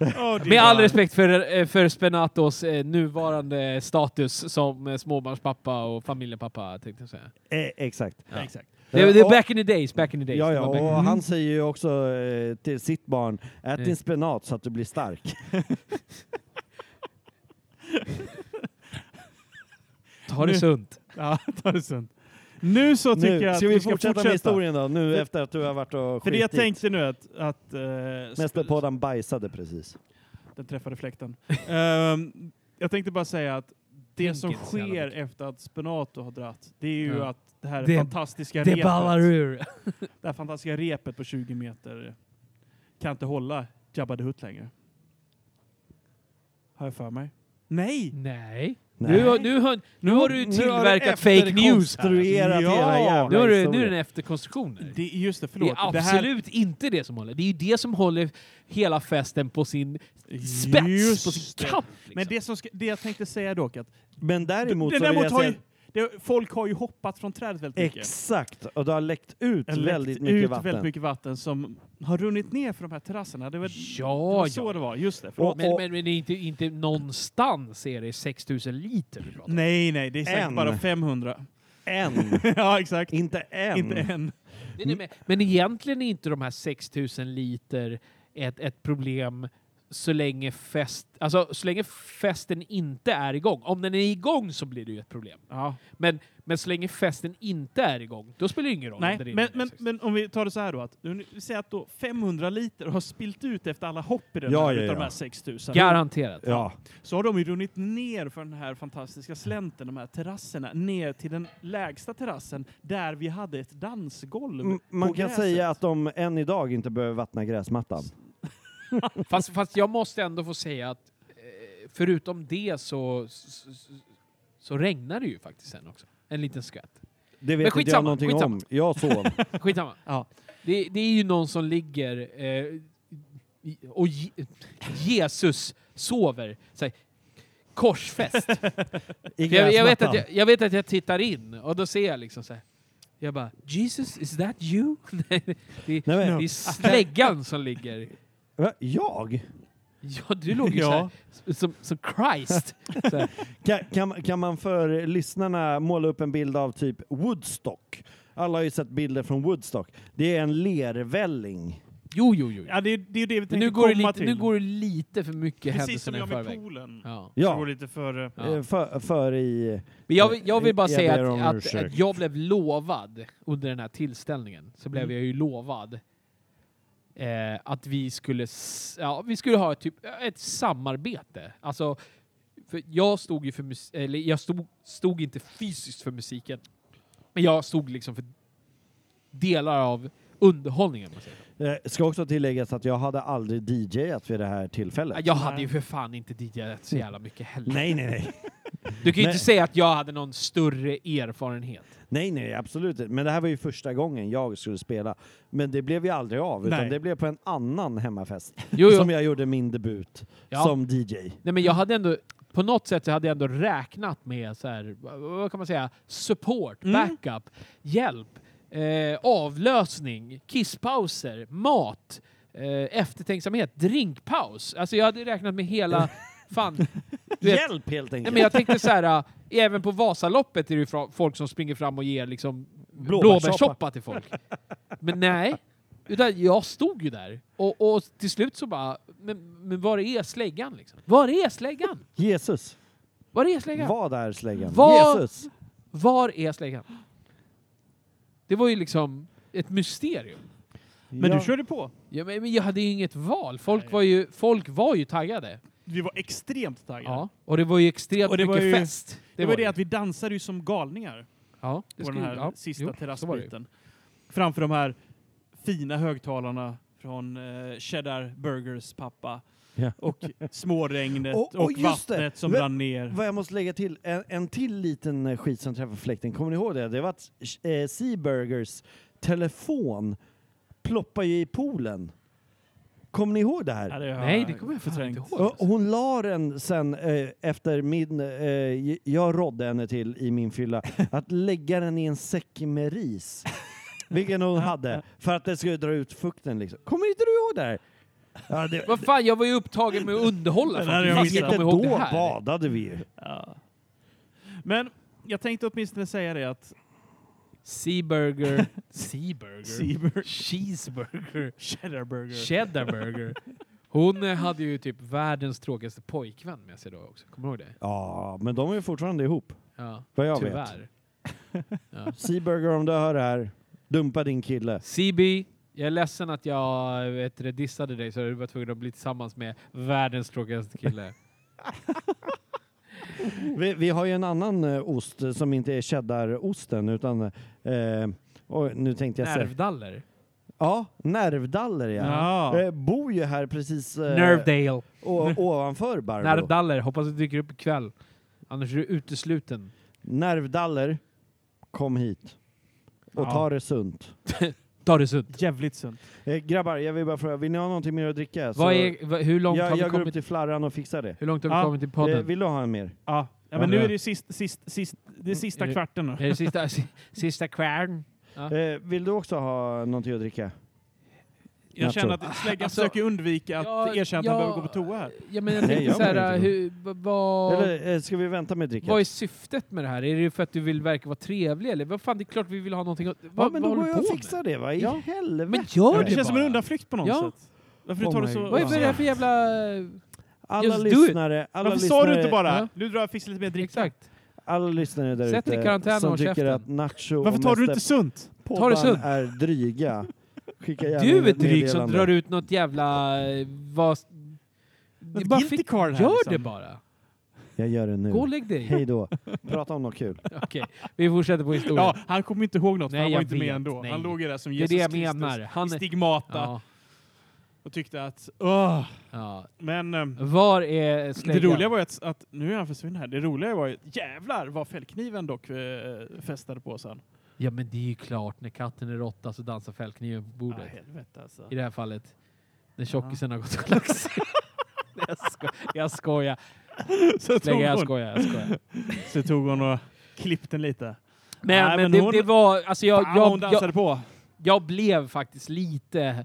C: Oh, det
D: Med all
C: var-
D: respekt för, eh, för Spenatos eh, nuvarande status som eh, småbarnspappa och familjepappa, tänkte jag säga.
E: Eh, exakt.
C: Ja, Exakt.
D: Det, det är
E: och-
D: back in the days, back in the days.
E: Ja,
D: Det
E: ja,
D: var back in the
E: och han säger ju också eh, till sitt barn, ät
D: Eh.
E: din spenat så att du blir stark.
D: Ta det
C: Nu-
D: sunt.
C: Ja, ta det sunt. Nu så tycker
E: Nu,
C: jag att
E: ska
C: vi,
E: vi
C: ska
E: fortsätta,
C: fortsätta.
E: med historien då, nu
C: För-
E: efter att du har varit och
C: För det jag
E: skitit.
C: tänkte nu är att, att eh,
E: Mästerpodden bajsade precis.
C: den träffade fläkten. Ehm, jag tänkte bara säga att det
D: Tänk
C: som
D: inte så jävla
C: sker
D: mycket.
C: efter att Spenato har dratt, det är ju
D: Ja.
C: att det här
D: Det-
C: fantastiska
D: Det
C: repet,
D: ballar ur.
C: det här fantastiska repet på 20 meter kan inte hålla Jabba the Hutt längre. Har jag för mig? Nej!
D: Nej.
E: Nej.
D: Nu, har- nu, har, nu har du
E: Nu
D: tillverkat fake news här.
E: efterkonstruerat
C: Ja!
E: hela jävla
D: Nu, har du, nu är
E: historien.
D: den efterkonstruktion. här.
C: Det, just det,
D: Det är
C: förlåt. Det här-
D: absolut inte det som håller. Det är ju det som håller hela festen på sin spets,
C: Just
D: på sin
C: det.
D: kapp. Liksom.
C: Men det, som ska, det jag tänkte säga dock att
E: Men däremot
C: det,
E: så vill
C: däremot
E: jag
C: har
E: säga
C: ju, det, folk har ju hoppat från trädet väldigt mycket.
E: Exakt, och det har läckt ut
C: Det har läckt
E: väldigt mycket
C: ut
E: vatten.
C: väldigt mycket vatten som har runnit ner för de här terrasserna. Det var, det
D: ja,
C: var så
D: ja.
C: det var, just det. Förlåt.
E: Och-
D: Men, men, men det är inte, inte någonstans är det 6000 liter vi pratar om.
C: nej, nej, det är säkert
E: En.
C: bara 500.
E: En,
C: ja, exakt.
E: inte en.
C: Inte en.
D: Nej, nej, men, men egentligen är inte de här 6000 liter ett, ett problem så länge, fest, alltså, så länge festen inte är igång. Om den är igång så blir det ju ett problem.
C: Ja.
D: Men, men så länge festen inte är igång, då spelar det ingen roll. om det
C: Nej,
D: rinner
C: men,
D: ner
C: men,
D: 6000.
C: men om vi tar det så här då. Att, nu, vi säger att då 500 liter har spilt ut efter alla hopp i den
E: Ja,
C: här,
E: ja,
C: utav de
E: ja.
C: här 6000.
D: Garanterat.
E: Ja.
C: Så har de ju runnit ner för den här fantastiska slänten, de här terrasserna, ner till den lägsta terrassen där vi hade ett dansgolv.
E: M-
C: på
E: Man kan
C: gräset.
E: säga att de än idag inte behöver vattna gräsmattan.
D: Fast, fast jag måste ändå få säga att eh, förutom det så, så, så, så regnar det ju faktiskt sen också. En liten skvätt.
E: Det vet
D: Men
E: inte
D: skitsamma,
E: jag någonting
D: skitsamma.
E: om. Jag sov.
D: Skitsamma.
C: Ja.
D: Det, det är ju någon som ligger eh, i- och Je Jesus sover. Så här, korsfäst.
E: I
D: jag, jag, vet att
E: gräsmattan.
D: jag, jag vet att jag tittar in och då ser jag liksom så här. Jag bara, Jesus, is that you? Nej, det, är-
E: Nej, men-
D: det är släggan som ligger.
E: Va? Jag?
D: Ja, du låg ju
C: Ja.
D: så här, s- som, som Christ. Så här.
E: Kan, kan, kan man för lyssnarna måla upp en bild av typ Woodstock? Alla har ju sett bilder från Woodstock. Det är en lervälling.
D: Jo, jo, jo.
C: Ja, det, är- det är ju det vi tänkte
D: Men nu går, det
C: komma
D: lite,
C: till.
D: nu går det lite för mycket
C: Precis som
D: händelser i
C: jag med
D: förväg.
C: poolen.
D: Ja.
C: Det går
E: Ja,
C: lite för... eh,
D: Ja.
E: eh, för, för i...
D: Men jag, vill- jag vill bara
E: Jag
D: säga
E: ber om
D: att, att,
E: ursäkt.
D: att
E: Mm.
D: jag blev lovad under den här tillställningen. Så blev jag ju lovad eh, att vi skulle, s- ja, vi skulle ha typ ett samarbete. Alltså, för jag stod ju för mus- eller jag stod, stod inte fysiskt för musiken, men jag stod liksom för delar av underhållningen. om Man säger. så.
E: Eh, Ska också tilläggas att jag hade aldrig DJat vid det här tillfället.
D: Jag hade ju för fan inte DJat så jävla mycket heller.
E: Nej, nej, nej.
D: Du kan ju
E: Nej.
D: inte säga att jag hade någon större erfarenhet.
E: Nej, nej, absolut inte. Men det här var ju första gången jag skulle spela. Men det blev ju aldrig av, utan
C: Nej.
E: det blev på en annan hemmafest
D: Jo, jo.
E: som jag gjorde min debut
D: Ja.
E: som DJ.
D: Nej, men jag hade ändå, på något sätt så hade jag ändå räknat med så här, vad- vad kan man säga, support, backup, hjälp, eh, avlösning, kisspauser, mat, eh, eftertänksamhet, drinkpaus. Alltså jag hade räknat med hela, fan, du vet,
E: Hjälp helt
D: Nej,
E: enkelt!
D: men jag tänkte så här, äh, även på Vasaloppet är det ju fra- folk som springer fram och ger liksom
E: Blåbärssoppa.
D: blåbärssoppa till folk. Men nej, utan jag stod ju där. Och, och till slut så bara, men, men var är släggan liksom? Var är släggan?
E: Jesus,
D: Var är släggan?
E: vad är släggan?
D: Vad-
E: Jesus!
D: Var är släggan? Det var ju liksom ett mysterium.
C: Men
E: Ja.
C: du körde på.
D: Ja, men men jag hade ju inget val. Folk
C: Nej.
D: var ju, folk var ju taggade.
C: Vi var extremt taggade.
D: Ja. Och det var ju extremt
C: Och det var
D: mycket
C: ju-
D: fest.
C: Det, var ju det
D: ju.
C: att vi dansade ju som galningar
D: ja, det
C: på den
D: skulle-
C: här
D: ja,
C: sista
D: jo, så var det ju.
C: terrassbiten. Framför de här fina högtalarna från eh, Cheddar Burgers pappa.
E: Ja.
C: Och småregnet
E: Och-
C: och,
E: och just det.
C: vattnet som
E: Men-
C: rann ner.
E: Vad jag måste lägga till, en, en till liten eh, skit som träffar fläkten, kommer ni ihåg det? Det var att eh, Seaburgers telefon ploppade ju i poolen. Kommer ni ihåg det här?
C: Ja, det har
D: Nej, det kommer jag fan
C: förträngt.
D: inte ihåg. alltså.
E: Och Hon la den sen eh, efter min, eh, jag rådde henne till i min fylla, att lägga den i en säck med ris. Vilken hon hade, för att det skulle dra ut fukten liksom. Kommer inte du ihåg det här? Ja, det,
D: Vad fan, jag var ju upptagen med att underhålla
C: Det
D: folk.
C: där är
D: Hur
C: jag
D: fan
C: missat.
D: ska jag
E: inte
D: komma ihåg det
E: då
D: här?
E: badade vi ju.
C: Ja. Men jag tänkte åtminstone säga det att
D: Seaburger. Seaburger.
C: Seaburger,
D: Cheeseburger.
C: Cheddar Burger.
D: Cheddarburger. Hon eh, hade ju typ världens tråkigaste pojkvän med sig då också. Kommer du ihåg det?
E: Ja, men de är ju fortfarande ihop.
D: Ja,
E: Vad jag vet.
D: tyvärr.
E: Seaburger om du hör det här, dumpa din kille.
D: CB, jag är ledsen att jag vet, du, dissade dig så du var tvungen att bli tillsammans med världens tråkigaste kille.
E: Vi, vi har ju en annan eh, ost eh, som inte är cheddarosten utan, eh, och nu tänkte jag säga,
D: Nervdaller.
E: ja, nervdaller ja.
C: Ja.
E: Eh, bor ju här precis eh,
D: Nervdale.
E: o- ovanför Barbro.
D: Nervdaller. Hoppas du dyker upp ikväll. Annars är du utesluten.
E: Nervdaller, kom hit och
C: Ja.
E: ta det sunt.
D: Ta det sunt.
C: Jävligt sunt.
E: Eh, grabbar, jag vill bara fråga, vill ni ha någonting mer att dricka? Så
D: Vad är, vad- hur långt har
E: Alltså, jag
D: vi
E: jag går upp
D: kommit?
E: till Flarran och fixar det.
D: Hur långt har vi
C: Ja,
D: kommit i
E: Eh,
D: podden?
E: vill du ha en mer?
C: Ja. Ja, men nu är det sist, sist, sist, det är
D: Är
C: sista
D: det-
C: kvarten. nu.
D: Är det sista, si- sista kvarn?
E: Eh, vill du också ha någonting att dricka?
C: Jag
E: Jag
C: känner
E: tror-
C: att släggan
D: Alltså,
C: försöker undvika att
D: jag-
C: erkänna att
D: jag-
C: han behöver gå på toa här.
D: Ja, men jag
E: Nej,
D: tänkte
E: jag
D: så här,
E: behöver inte.
D: hur, va- vad,
E: Eller eh, ska vi vänta med dricka?
D: vad är syftet med det här? Är det för att du vill verka vara trevlig eller? Vad fan, det är klart vi vill ha någonting att... Vad,
E: ja, men
D: vad
E: då går
D: håller
E: jag
D: du
E: och
D: på
E: fixar det va? I
D: Ja.
E: helvete!
D: med? Men gör
E: Ja,
D: det,
C: Det känns som en
D: bara.
C: undanflykt på något
D: Ja.
C: sätt. Varför du
E: Oh
C: tar det
E: my
C: så...
E: God.
D: Vad är det här för jävla...
E: alla
D: just do it.
E: lyssnare, alla
C: Varför
E: lyssnare,
C: sa du inte bara
D: Ja.
C: nu drar jag fixar lite mer dricka?
D: Exakt.
E: alla lyssnare där
D: Sätt dig i
E: ute
D: karantän och
E: som
D: håll
E: tycker
D: käften.
E: att Nacho
C: Varför
E: och
C: tar du inte
E: Mäster
C: sunt?
D: Ta det sunt.
E: Poddan är dryga. Skicka gärna in
D: Du är
E: ett
D: dryg som
E: meddelande.
D: drar ut något jävla... eh, Vad... Det är
C: Något
D: bara
C: guilty
D: fick-
C: card här,
D: Gör
C: liksom.
D: det bara.
E: Jag gör det nu.
D: Gå och lägg dig.
E: Hej då. Prata om något kul.
D: Okej, vi fortsätter på historien.
C: Ja, han kommer inte ihåg något, för
D: Nej,
C: han
D: jag
C: var inte
D: vet.
C: med ändå.
D: Nej.
C: Han låg ju där som
D: det är
C: Jesus
D: det jag
C: Kristus
D: menar. Han
C: i
D: är...
C: stigmata
D: Ja,
C: och tyckte att... Åh.
D: ja.
C: Men ehm,
D: Var är
C: det
D: släggan?
C: roliga var ju att, att... Nu är han försvunnen här. Det roliga var ju... Jävlar vad fällkniven dock eh, fästade på sen.
D: Ja men det är ju klart, när katten är råtta så dansar fällkniven på
C: Ah,
D: bordet.
C: helvete alltså.
D: I det här fallet, när tjockisen har gått och lagt sig. Nej, jag, sko- jag skojar.
C: Så tog,
D: Nej, jag
C: hon,
D: skojar. Jag skojar.
C: så tog hon och klippte den lite.
D: Men,
C: Nej,
D: men
C: men
D: det,
C: hon-
D: det var, alltså jag,
C: Fan, vad
D: jag,
C: hon
D: jag,
C: dansade
D: jag,
C: på.
D: blev faktiskt lite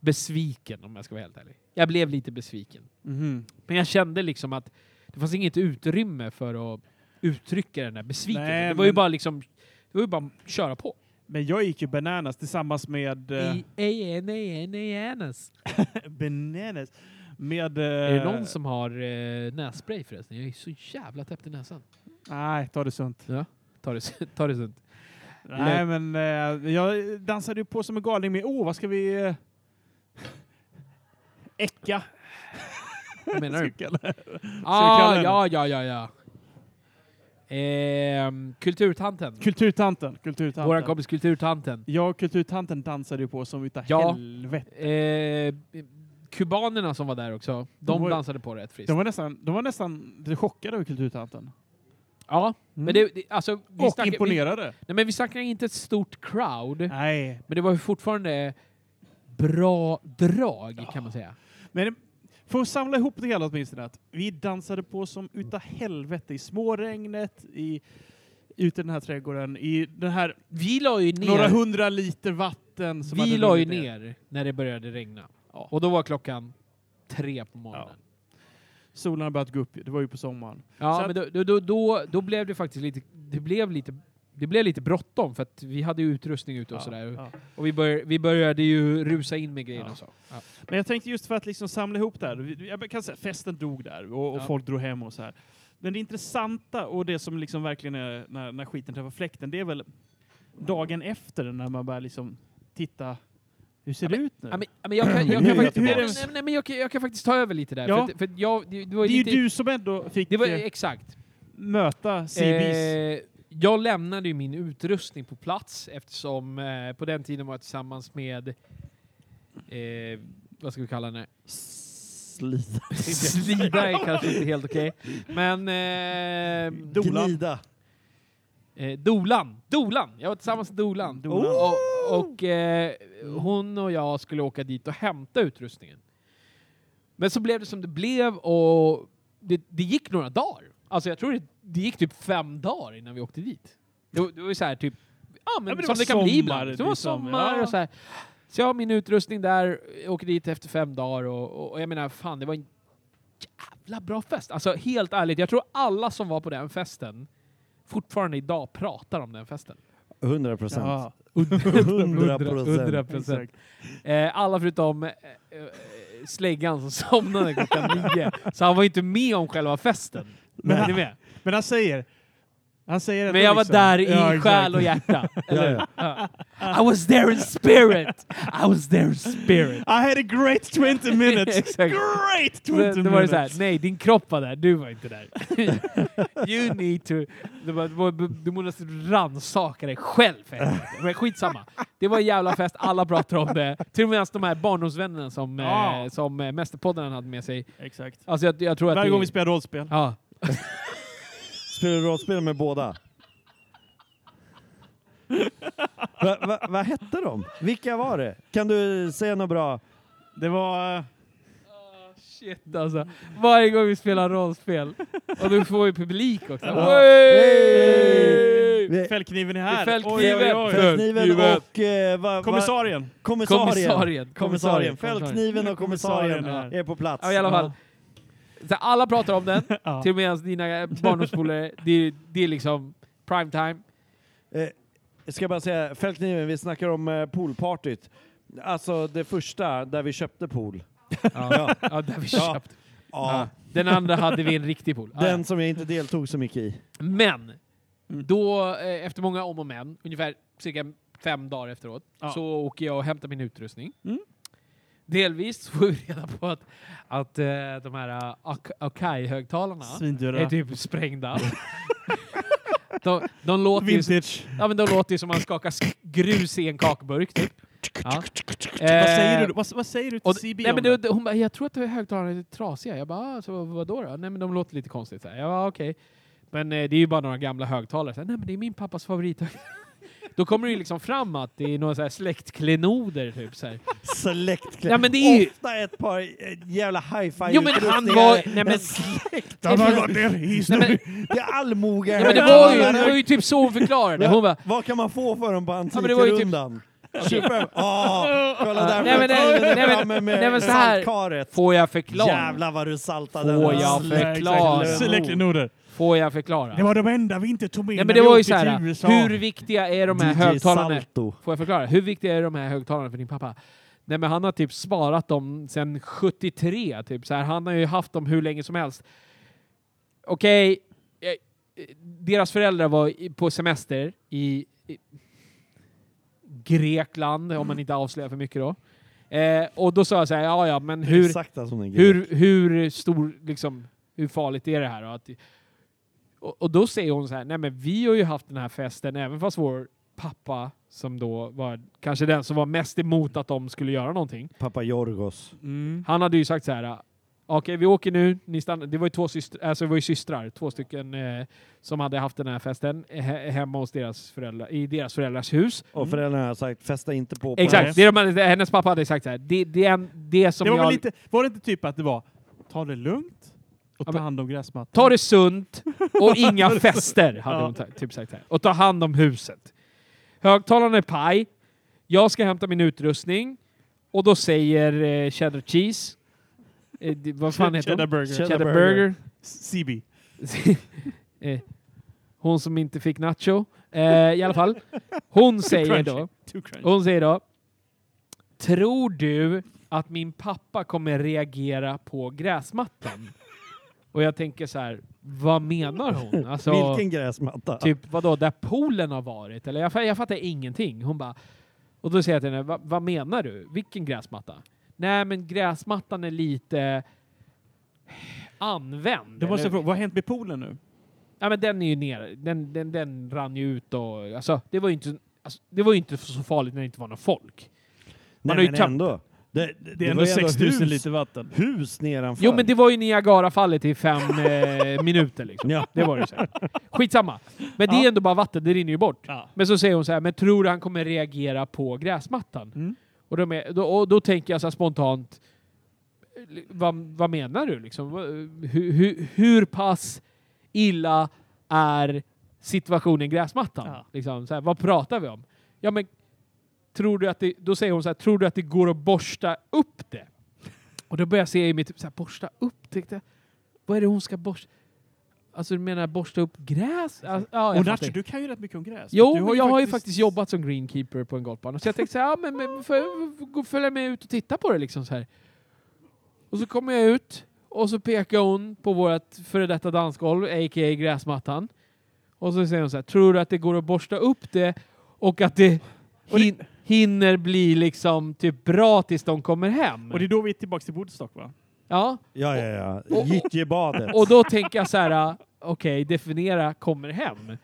D: besviken om jag ska vara helt ärlig. Jag blev lite besviken.
C: Mhm.
D: Men jag kände liksom att det fanns inget utrymme för att uttrycka den där besvikelsen.
C: Nej,
D: det var ju
C: men-
D: bara liksom, det var ju bara att köra på.
C: Men jag gick ju bananas tillsammans med... eh,
D: I, I, N, I, N, I, N, S.
C: Bananas. Med...
D: Är det någon som har eh, nässpray förresten? Jag är så jävla täppt i näsan.
C: Nej, ta det sunt.
D: Ta det, s- ta det sunt.
C: Nej, men eh, jag dansade ju på som en galning med... Åh, vad ska vi... eh, Äcka.
D: Vad menar du?
C: Ska jag kalla det.
D: Ah,
C: kalla
D: ja, ja, ja, ja. Ehm, kulturtanten.
C: Kulturtanten. Kulturtanten.
D: Våran kompis Kulturtanten.
C: Ja, kulturtanten dansade ju på som utav
D: Ja.
C: helvete.
D: Eh, kubanerna som var där också, de
C: De var-
D: dansade på rätt friskt.
C: De var nästan, de var nästan lite chockade över kulturtanten.
D: Ja, men det, det alltså... Vi
C: Och
D: snackar-
C: imponerade.
D: Vi, nej, men vi snackar inte ett stort crowd,
C: Nej.
D: men det var ju fortfarande bra drag kan man säga.
C: Men det- för att samla ihop det hela åtminstone, att vi dansade på som utav helvete i småregnet, i, ute i den här trädgården, i den här
D: Vi la ju
C: några
D: ner,
C: hundra liter vatten. Som
D: vi
C: hade
D: la ju
C: runnit
D: ner när det började regna.
C: Ja.
D: Och då var klockan tre på morgonen.
C: Solen hade börjat gå upp, det var ju på sommaren.
D: Ja,
C: Så att-
D: men då, då, då, då, då blev det faktiskt lite... Det blev lite, det blev lite bråttom för att vi hade ju utrustning ute och
C: Ja,
D: sådär.
C: ja.
D: Och vi, bör, vi började ju rusa in med grejerna
C: Ja.
D: och så. Ja.
C: Men jag tänkte just för att liksom samla ihop det här. Vi- Jag kan säga, festen dog där och, och
D: Ja.
C: folk drog hem och så här. Men det intressanta och det som liksom verkligen är när, när skiten träffar fläkten, det är väl dagen efter när man börjar liksom titta. Hur ser det ut nu?
D: Ja, men, ja, men jag kan, jag
C: Hur är
D: kan, faktiskt,
C: Göteborg?
D: nej, men- nej, nej, men jag kan, jag kan faktiskt ta över lite där.
C: Ja.
D: För, att- för att jag, det, det var
C: det är ju
D: lite,
C: du som ändå fick
D: det var,
C: eh,
D: exakt.
C: möta Seabees.
D: Eh, jag lämnade ju min utrustning på plats eftersom eh, på den tiden var jag tillsammans med, eh, vad ska vi kalla henne?
E: Slita.
D: Slida är kanske inte helt okej. Men eh,
E: Gnida.
D: Eh, Dolan. Dolan! Jag var tillsammans med Dolan.
C: Dolan.
D: Och, och eh, hon och jag skulle åka dit och hämta utrustningen. Men så blev det som det blev och det, det gick några dagar. Alltså jag tror det, det gick typ fem dagar innan vi åkte dit. Det, var- det var ju så här typ, ja men,
C: Ja, men det
D: som
C: var
D: det kan bli
C: sommar,
D: ibland. Det var
C: liksom.
D: sommar
C: Ja.
D: och så här. Så jag har min utrustning där, jag åker dit efter fem dagar och, och, och jag menar fan det var en jävla bra fest. Alltså helt ärligt, jag tror alla som var på den festen fortfarande idag pratar om den festen.
E: 100 procent.
C: Ja,
E: 100
D: 100
E: procent.
D: procent. Eh, alla förutom eh, eh, släggan som somnade klockan nio. Så han var ju inte med om själva festen. Men,
C: Men-
D: är ni med?
C: Men han säger... Han säger
D: men
C: ändå
D: jag var
C: liksom-
D: där i
C: Ja, exakt.
D: själ och hjärta. Eller? Ja. I was there in spirit! I was there in spirit.
C: I had a great 20 minutes!
D: Exakt.
C: Great 20
D: Det, det var det
C: minutes!
D: så här, nej din kropp var där, du var inte där. you need to... Det var, det var, du måste rannsaka dig själv för helvete. Men skitsamma. Det var en jävla fest, alla pratar om det. Till och med de här barndomsvännerna som,
C: Ja.
D: eh, som eh, mästerpodden hade med sig.
C: Exakt.
D: Alltså jag, jag tror att
C: Ah. Varje
D: det,
C: gång vi spelar rollspel.
D: Ja.
E: Spelar du rollspel med båda? Va- va- Vad hette de? Vilka var det? Kan du säga något bra?
C: Det var... eh,
D: Shit alltså. Varje gång vi spelar rollspel. Och du får ju publik också.
C: Ja.
D: Wey!
E: Vi-
C: Fällkniven är här!
D: Fällkniven.
C: Oj, oj, oj.
E: Fällkniven
D: Fällkniven.
E: och... Eh, va, va,
C: Kommissarien!
E: Kommissarien.
D: Kommissarien. Kommissarien.
E: Kommissarien. Fällkniven och kommissarien
C: Kommissarien är-
E: är på plats.
D: Ja, i alla fall. Så alla pratar om den.
C: Ja.
D: Till och med ens dina barndomspolare, det, är- det är liksom prime time.
E: Eh, jag ska bara säga, Fällkniven, vi snackar om eh, poolpartyt. Alltså det första där vi köpte pool.
D: Ja. där vi
E: Ja.
D: köpte.
E: Ja.
D: Den andra hade vi en riktig pool. Ja,
E: Den som jag inte deltog så mycket i.
D: ja. Men, då eh, efter många om och men, ungefär cirka fem dagar efteråt,
C: Ja.
D: så åker jag och hämtar min utrustning.
C: Mm.
D: Delvis får vi reda på att, att eh, de här eh, Ak- Akai-högtalarna är
C: Svindyra.
D: typ sprängda. de, de låter ju
C: Vintage.
D: Ja men då låter det som man skakar sk- grus i en kakburk typ. Ja. Eh,
C: Vad säger du, vad, vad säger du till
D: Och,
C: CB
D: nej,
C: om
D: men
C: det?
D: det, hon bara, jag tror att det är högtalarna är trasiga. Jag bara, ah, så vad, vadå då? Nej men de låter lite konstigt. Så här. Jag bara, okej. Men eh, det är ju bara några gamla högtalare. Så här, nej men det är min pappas favorit. då kommer det ju liksom fram att det är några så här släktklenoder typ. Så här.
E: Select
D: Ja, men det är ju-
E: Ofta ett par eh, jävla hi-fi
D: Jo, men han var- nej, men-
E: Släktarna
D: Nej,
E: har
D: men- Nej,
E: gått ner i
D: men,
E: historien. Det är allmoge.
D: ja, men det var ju, det var ju typ så hon förklarade. Hon bara,
E: Vad kan man få för dem på
D: Ja, men det var ju typ-
E: Antikrundan? 25? Ah, kolla där
D: Nej, men det-
E: fällkniven
D: nej, men-
E: framme med
D: nej, men så här-
E: saltkaret.
D: får jag förklara?
E: Jävlar vad du saltade
D: Får
E: den.
D: jag
E: Släkt-
D: förklara?
E: Släkt-
C: Släktlenoder.
D: Får jag förklara?
C: Det var de enda vi inte tog med
D: Nej
C: när
D: men det
C: vi
D: var ju
C: åkte
D: så här, äh,
C: till USA.
D: hur viktiga är de här
E: DJ
D: högtalarna?
E: Salto.
D: Får jag förklara? Hur viktiga är de här högtalarna för din pappa? Nej men han har typ sparat dem sedan 73, typ så här. Han har ju haft dem hur länge som helst. Okej, eh, eh, deras föräldrar var i- på semester i, i Grekland, om man inte avslöjar för mycket då. Eh, Eh, och då sa jag så här, ja ja, men
E: Det är
D: hur,
E: Exakt som den grejen.
D: hur, hur stor, liksom, hur farligt är det här? Och, att, och, och då säger hon så här, nej men vi har ju haft den här festen även fast vår pappa, som då var kanske den som var mest emot att de skulle göra någonting,
E: Pappa Jorgos.
C: Mm.
D: han hade ju sagt så här, "Ah, okej vi åker nu, ni stannar. Det var ju två systrar, alltså det var ju systrar, två stycken eh, som hade haft den här festen eh, he hemma hos deras föräldrar, i deras föräldrars hus.
E: Och föräldrarna har sagt festa inte på på
D: Mm. Exakt,
E: oss."
D: det är de, hade- hennes pappa hade sagt så här, det, det, är en, det som
C: Det var,
D: jag...
C: väl lite, var det inte typ att det var ta det lugnt och
D: Ja,
C: ta
D: men-
C: hand om gräsmattan?
D: Ta det sunt och inga fester, hade hon ta- typ sagt här. Och ta hand om huset. Högtalaren är paj. Jag ska hämta min utrustning. Och då säger eh, Cheddar Cheese... Eh, det, vad fan heter
C: Cheddar
D: hon?
C: burger.
E: Cheddar
D: Cheddar Burger.
C: CB.
D: eh, hon som inte fick nacho. Eh, I alla fall. Hon säger då...
C: Too crunchy.
D: Hon säger då... Tror du att min pappa kommer reagera på gräsmattan? Och jag tänker så här, vad menar hon? Alltså,
E: Vilken gräsmatta?
D: Typ vadå, där poolen har varit? Eller jag, fa- jag fattar ingenting. Hon bara... Och då säger jag till henne, "Va- vad menar du? Vilken gräsmatta? Nej men gräsmattan är lite använd.
C: Då måste jag
D: eller?
C: fråga, vad har hänt med poolen nu?
D: Ja men den är ju nere. Den, den, den rann ju ut och... Alltså det var ju inte, alltså, det var ju inte så farligt när det inte var någon folk.
E: Nej,
D: har ju
E: men
D: tappat-
E: ändå. Det, det,
C: Det är
E: var
C: ändå
E: ju
C: 6000
E: hus-
C: liter vatten.
E: Hus nedanför.
D: Jo men det var ju Niagara-fallet i fem eh, minuter liksom.
E: Ja.
D: Det var det så. här. Skitsamma. Men det är ändå bara vatten, det rinner ju bort.
C: Ja.
D: Men så säger hon så här, men tror du han kommer reagera på gräsmattan?
C: Mm.
D: Och, de är, då, och då tänker jag så här spontant, li- vad, vad menar du liksom? Vad- Hur, hur, hur pass illa är situationen gräsmattan?
C: Ja.
D: Liksom, så här, vad pratar vi om? Ja men, tror du att det, då säger hon så här, tror du att det går att borsta upp det? Och då börjar jag se i mitt, så här, borsta upp, tänkte jag, vad är det hon ska borsta? Alltså du menar borsta upp gräs? Alltså, ja, jag
C: Och
D: fattar.
C: Nacho, du kan ju rätt mycket om gräs.
D: Jo,
C: Du
D: jag har ju faktiskt jobbat som greenkeeper på en golfbana. Så jag tänkte så här, ja, men, men för, gå- följa med ut och titta på det liksom så här. Och så kommer jag ut och så pekar hon på vårt före detta dansgolv, a.k.a. gräsmattan. Och så säger hon så här, tror du att det går att borsta upp det och att det,
C: Och det-
D: hin- hinner bli liksom typ bra tills de kommer hem?
C: Och det är då vi är tillbaka till Woodstock va?
D: ja,
E: Ja, ja,
D: och-
E: ja.
D: och-
E: Gyttjebadet.
D: och då tänker jag så här, äh, okej, definiera kommer hem.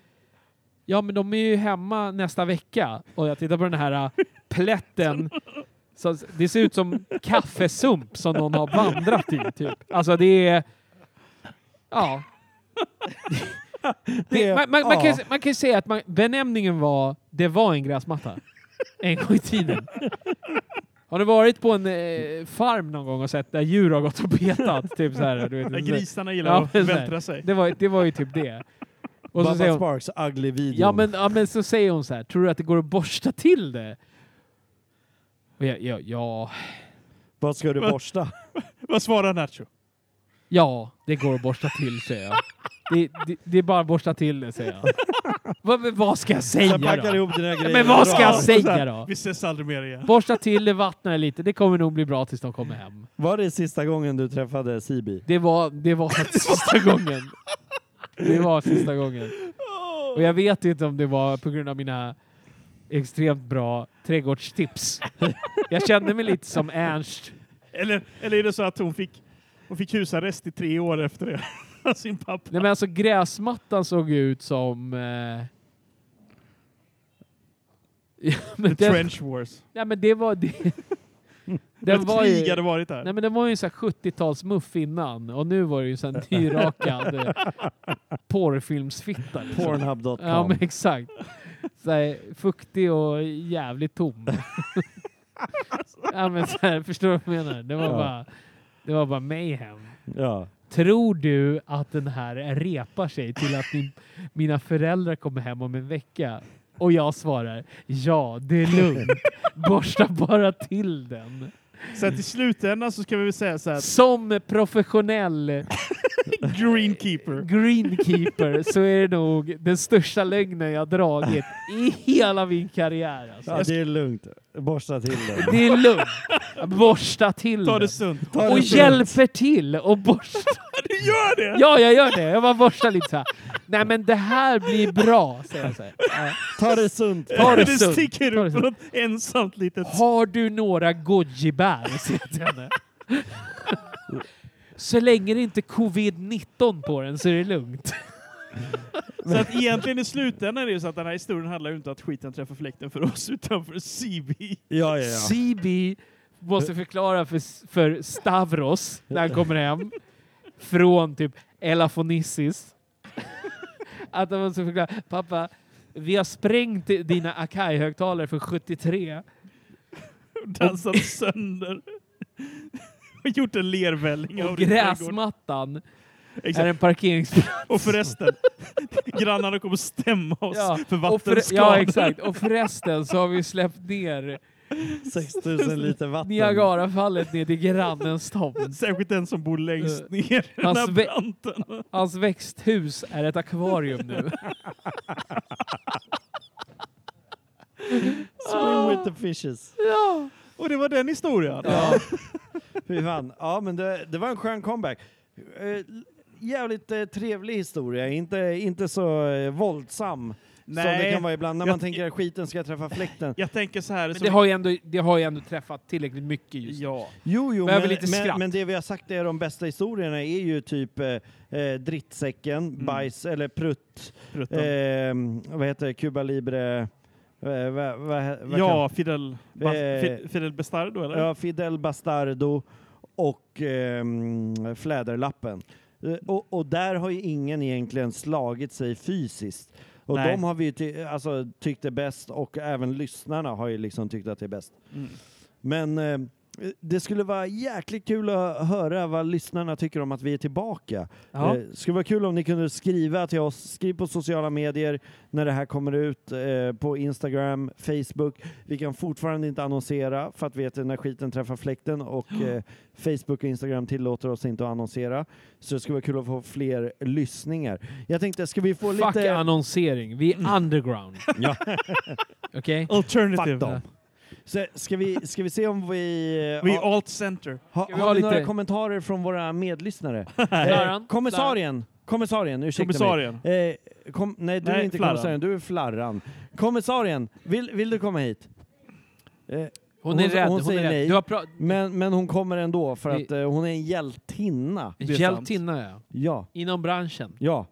D: Ja, men de är ju hemma nästa vecka och jag tittar på den här äh, plätten. Så det ser ut som kaffesump som någon har vandrat i, typ. Alltså det är... Ja. Det, man, man, man, kan, ju s- man kan ju säga att man, benämningen var det var en gräsmatta. En gång i tiden. Har du varit på en eh, farm någon gång och sett där djur har gått och betat? Typ så här, du vet,
C: Där
D: så-
C: grisarna gillar
D: Ja,
C: att
D: men så här.
C: vältra sig.
D: det var, det var ju typ det. Och så
E: Bubba
D: säger hon,
E: Sparks ugly video.
D: ja, men, ja men så säger hon så här, tror du att det går att borsta till det? Och jag, ja, ja,
E: Vad ska du borsta?
C: Vad svarar Nacho?
D: ja, det går att borsta till säger jag. Det, det, det är bara att borsta till det säger jag. Vad, men vad ska jag säga
E: Jag packar
D: då?
E: ihop dina grejer.
D: Men vad ska
E: Bra.
D: jag säga då?
C: Vi ses aldrig mer igen.
D: Borsta till det, vattna det lite, det kommer nog bli bra tills de kommer hem.
E: Var det sista gången du träffade Sibi?
D: Det var, det var sista gången. Det var sista gången. Och jag vet inte om det var på grund av mina extremt bra trädgårdstips. Jag kände mig lite som Ernst.
C: Eller, eller är det så att hon fick, hon fick husarrest i tre år efter det? av Sin pappa.
D: Nej men alltså gräsmattan såg ju ut som... Eh... Ja, men
C: The
D: den,
C: Trench Wars.
D: nej men det var... Det, den
C: Den
D: var
C: krig
D: ju,
C: hade varit där.
D: nej men den var ju en sån här 70-talsmuff innan och nu var det ju en sån här nyrakad eh, porrfilmsfitta. liksom.
E: Pornhub.com.
D: Ja men exakt. Så här, fuktig och jävligt tom. ja, men så här, förstår du vad jag menar? Det var,
E: Ja.
D: bara, det var bara mayhem.
E: ja.
D: Tror du att den här repar sig till att min, mina föräldrar kommer hem om en vecka? Och jag svarar ja, det är lugnt. Borsta bara till den.
C: Så att i slutändan så ska vi väl säga så här.
D: Som professionell
C: Greenkeeper.
D: greenkeeper så är det nog den största lögnen jag dragit i hela min karriär. Alltså.
E: ja, det är lugnt. Borsta till dig.
D: Det är lugnt. Borsta till
C: Ta
D: den.
C: det sunt.
E: Ta det
D: Och
E: lugnt.
D: hjälper till och borsta.
C: Du gör det!
D: Ja, jag gör det. Jag bara borstar lite så här. Nej men det här blir bra, säger jag så här. Ja.
E: Ta det sunt.
D: Ta det
C: det
D: sunt. Ta
C: sticker
D: det
C: upp
D: sunt.
C: något ensamt litet...
D: Har du några gojibär? säger jag till henne. Så länge det inte är covid-19 på den så är det lugnt.
C: Så att egentligen i slutändan är det ju så att den här historien handlar ju inte om att skiten träffar fläkten för oss utan för CB.
E: Ja, ja, ja.
D: CB måste förklara för, för Stavros när han kommer hem från typ Elafonissis att han måste förklara. Pappa, vi har sprängt dina Akai-högtalare för 73.
C: Dansat sönder. Och gjort en lervälling av
D: Och
C: din trädgård.
D: gräsmattan är
C: Exakt.
D: en parkeringsplats.
C: Och förresten, grannarna kommer stämma oss för
D: och förre-
C: vattenskador.
D: Ja, exakt. Och förresten så har vi släppt ner
E: 6000 liter vatten.
D: Niagarafallet ner till grannens tomt.
C: Särskilt den som bor längst
D: Eh,
C: ner i den
D: hans
C: här
D: vä-
C: branten.
D: Hans växthus är ett akvarium nu.
E: Swim with the fishes.
C: Och det var den historien.
E: Ja. Fy fan. Ja, men det, det var en skön comeback. Eh, jävligt eh, trevlig historia. Inte, inte så eh, våldsam som det
C: Nej.
E: kan vara ibland när
C: Jag-
E: man tänker att skiten ska träffa fläkten.
C: Jag tänker så här...
D: Men
C: som-
D: det har ju ändå, det har ju ändå träffat tillräckligt mycket just nu.
C: Ja.
E: Jo, jo,
D: Behöver
E: men,
D: lite skratt.
E: men, men det vi har sagt är de bästa historierna är ju typ eh, eh, drittsäcken,
C: Mm.
E: bajs eller prutt,
C: Förutom-
E: eh, vad heter det, Cuba Libre, eh, vad, vad, vad
C: ja, Fidel, Bas-
E: Eh,
C: Fi- Fidel Bestardo eller?
E: kan- ja, Fidel Bastardo och ehm, Fläderlappen. Eh, och, och där har ju ingen egentligen slagit sig fysiskt. Och
C: Nej.
E: de har vi ju ty- alltså, tyckt är bäst och även lyssnarna har ju liksom tyckt att det är bäst.
C: Mm.
E: Men eh, det skulle vara jäkligt kul att höra vad lyssnarna tycker om att vi är tillbaka.
D: Ja.
E: Eh, skulle vara kul om ni kunde skriva till oss. Skriv på sociala medier när det här kommer ut. Eh, på Instagram, Facebook. Vi kan fortfarande inte annonsera för att vi heter När skiten träffar fläkten och eh, Facebook och Instagram tillåter oss inte att annonsera. Så det skulle vara kul att få fler lyssningar. Jag tänkte, ska vi få
D: Fuck
E: lite... Mm.
D: annonsering, vi är underground.
E: Ja.
D: Okej?
C: Alternative.
E: Fuck dem. Så ska, vi, ska vi se om vi...
C: Vi är alt center.
E: Ha,
D: Ska vi
E: har
D: ha
E: vi några
D: lite-
E: kommentarer från våra medlyssnare? Eh,
D: Flarran?
E: kommissarien! Kommissarien, ursäkta
C: Kommissarien.
E: mig. Eh, kom, nej, du är
C: Nej,
E: inte
C: Flarran.
E: kommissarien, du är Flarran. Kommissarien, vill, vill du komma hit? Eh,
D: Hon är
E: Hon-
D: rädd.
E: hon
D: Hon,
E: säger
D: är rädd.
E: nej.
D: Du har pra-
E: men, men hon kommer ändå för
D: Vi-
E: att eh, hon är en hjältinna.
C: är sant.
D: Hjältinna ja.
E: Ja,
D: Inom branschen.
E: ja.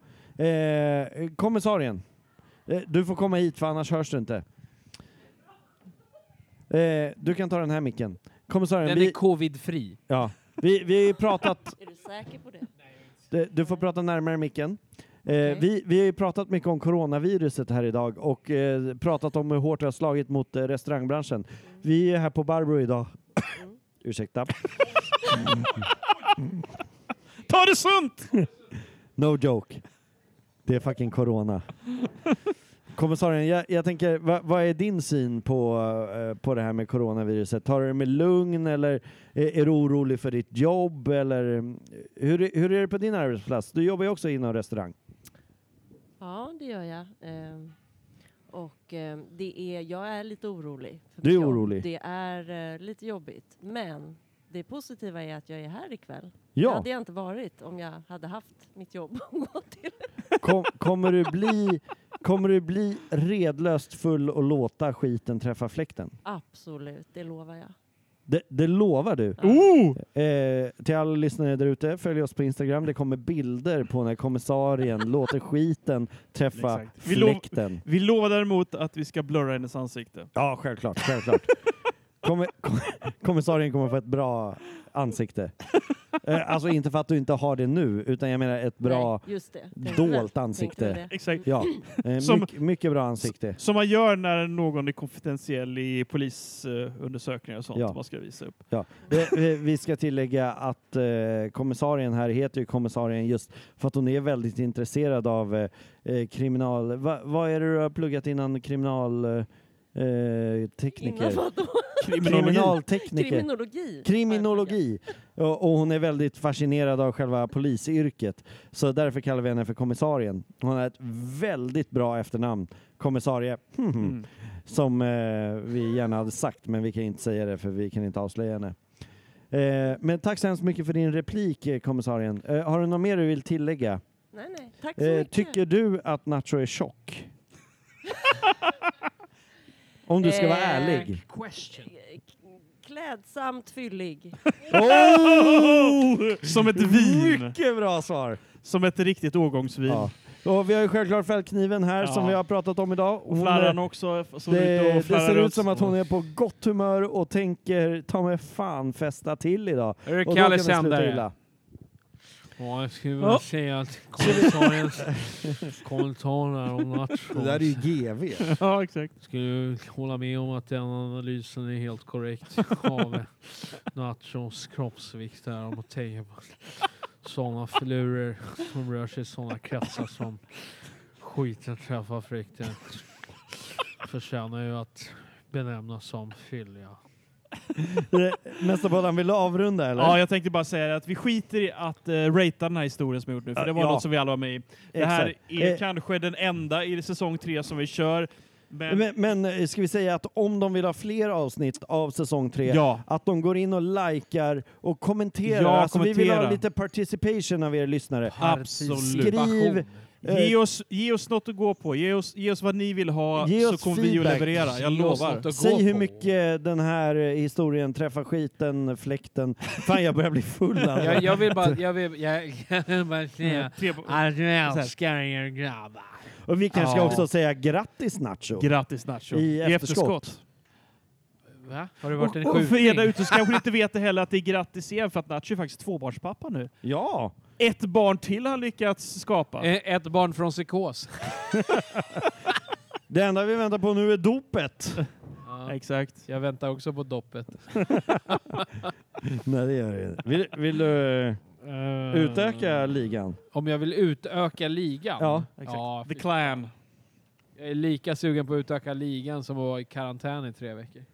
E: Eh, kommissarien, eh, du får komma hit för annars hörs du inte. Eh, du kan ta den här micken. Kommissarien,
D: Den är
E: vi,
D: covid-fri.
E: ja, vi, vi har ju pratat
G: Är du säker på det?
E: Du, du får prata närmare micken. Eh,
G: Okej.
E: vi, vi har ju pratat mycket om coronaviruset här idag och eh, pratat om hur hårt det har slagit mot eh, restaurangbranschen. Vi är här på Barbro idag. Ursäkta.
C: Ta det sunt!
E: No joke. Det är fucking corona. Kommissarien, jag, jag tänker, va, vad är din syn på, eh, på det här med coronaviruset? Tar du det med lugn eller är, är du orolig för ditt jobb? Eller, mm, hur, är- hur är det på din arbetsplats? Du jobbar ju också inom restaurang.
G: Ja, det gör jag. Ehm, Och ehm, det är, jag är lite orolig. för
E: Du
G: mitt
E: är
G: jobb.
E: orolig?
G: Det är eh, lite jobbigt. Men det positiva är att jag är här ikväll. Det
E: Ja.
G: hade jag inte varit om jag hade haft mitt jobb att gå till.
E: Kom, kommer, du bli, kommer du bli redlöst full och låta skiten träffa fläkten?
G: Absolut, det lovar jag.
E: Det, det lovar du.
C: Oh!
E: Eh, till alla lyssnare där ute, följ oss på Instagram. Det kommer bilder på när kommissarien låter skiten träffa
C: Exakt. Vi lov-
E: fläkten.
C: Vi lovar däremot att vi ska blurra hennes ansikte.
E: Ja, självklart. självklart. Kommer, kom, kommissarien kommer få ett bra ansikte. Eh, alltså inte för att du inte har det nu, utan jag menar ett bra...
G: Nej, just det.
E: dolt ansikte.
C: Exakt.
E: Ja, eh,
C: Som-
E: mycket, mycket bra ansikte.
C: Som man gör när någon är konfidentiell i polisundersökningar och sånt.
E: Ja.
C: Man ska visa upp.
E: Ja. Eh, eh, Vi ska tillägga att eh, kommissarien här heter ju kommissarien just för att hon är väldigt intresserad av eh, eh, kriminal... Va, vad är det du har pluggat innan kriminal... Eh,
G: Innan
E: tekniker?
G: vadå?
C: Mm.
E: Kriminaltekniker?
G: Kriminologi.
E: Kriminologi. Och, och hon är väldigt fascinerad av själva polisyrket. Så därför kallar vi henne för kommissarien. Hon har ett väldigt bra efternamn. Kommissarie.
C: Mm.
E: Som eh, vi gärna hade sagt, men vi kan inte säga det för vi kan inte avslöja henne. Eh, men tack så hemskt mycket för din replik, eh, kommissarien. Eh, har du något mer du vill tillägga?
G: Nej, Nej, nej. Tack så
E: Eh,
G: mycket.
E: tycker du att Nacho är tjock? Om du ska vara
G: Eh.
E: ärlig.
D: Question.
G: K- Klädsamt fyllig.
C: Oh! Som ett vin.
E: Mycket bra svar!
C: Som ett riktigt årgångsvin.
E: Ja. Och vi har ju självklart fällkniven här
C: Ja.
E: som vi har pratat om idag. Hon
C: Flarran
E: är-
C: också. f- Som är
E: det,
C: ute
E: det
C: och flarrar
E: ser ut som
C: runt.
E: att hon är på gott humör och tänker ta mig fan festa till idag.
D: Är det
E: Och då kan
D: Kalle
E: det sluta
D: Sändare?
E: illa.
D: Ja, jag skulle vilja
C: Ja.
D: säga att kommissariens kommentarer om Nacho
H: Det där är ju GV.
C: Ja, exakt.
D: skulle hålla med om att den analysen är helt korrekt av Nachos kroppsvikt är om att tänka på sådana filurer som rör sig i sådana kretsar som skiten träffar frukten förtjänar ju att benämnas som fylliga.
E: Eh, Nästa podden vill du avrunda eller?
C: Ja, jag tänkte bara säga att vi skiter i att uh, ratea den här historien som vi gjort nu, för det var
E: Ja.
C: något som vi alla var med i. Det här
E: Exakt.
C: är
E: Eh.
C: kanske den enda i säsong tre som vi kör. Men,
E: Men, men eh, ska vi säga att om de vill ha fler avsnitt av säsong tre,
C: ja,
E: att de går in och likar och kommenterar.
C: Ja,
E: alltså, Vi vill ha
C: kommentera.
E: lite participation av er lyssnare.
C: absolut.
E: Skriv, eh,
C: Ge oss, ge oss något att gå på. Ge oss, ge oss vad ni vill ha
E: Ge
C: så
E: oss
C: kommer vi att
E: feedback.
C: leverera. Jag
D: Ge oss
C: lovar.
D: något att gå
E: Säg hur
D: på.
E: mycket den här eh, historien träffar skiten, fläkten. Fan, jag börjar bli full alltså.
D: Jag, jag vill bara, jag vill, jag, jag vill bara säga
C: Mm, Tre på-
D: att jag älskar er grabbar.
E: Och vi kanske
D: Ja.
E: också säga grattis Nacho.
C: Grattis Nacho.
E: I efterskott.
D: Va? Har det varit en
C: Och, och för er där
D: skjutning?
C: ute så kanske ni inte vet det heller att det är grattis igen för att Nacho är faktiskt tvåbarnspappa nu.
E: ja!
C: Ett barn till har lyckats skapa.
D: Eh, Ett barn från psykos.
E: Det enda vi väntar på nu är dopet.
D: Ja,
C: Exakt.
D: jag väntar också på doppet.
E: Nej, det gör det inte. Vill, vill du eh, utöka ligan?
D: Om jag vill utöka ligan?
E: Ja,
C: exakt.
D: Ja,
C: The
D: fy-
C: Clan.
D: jag är lika sugen på att utöka ligan som att vara i karantän i tre veckor.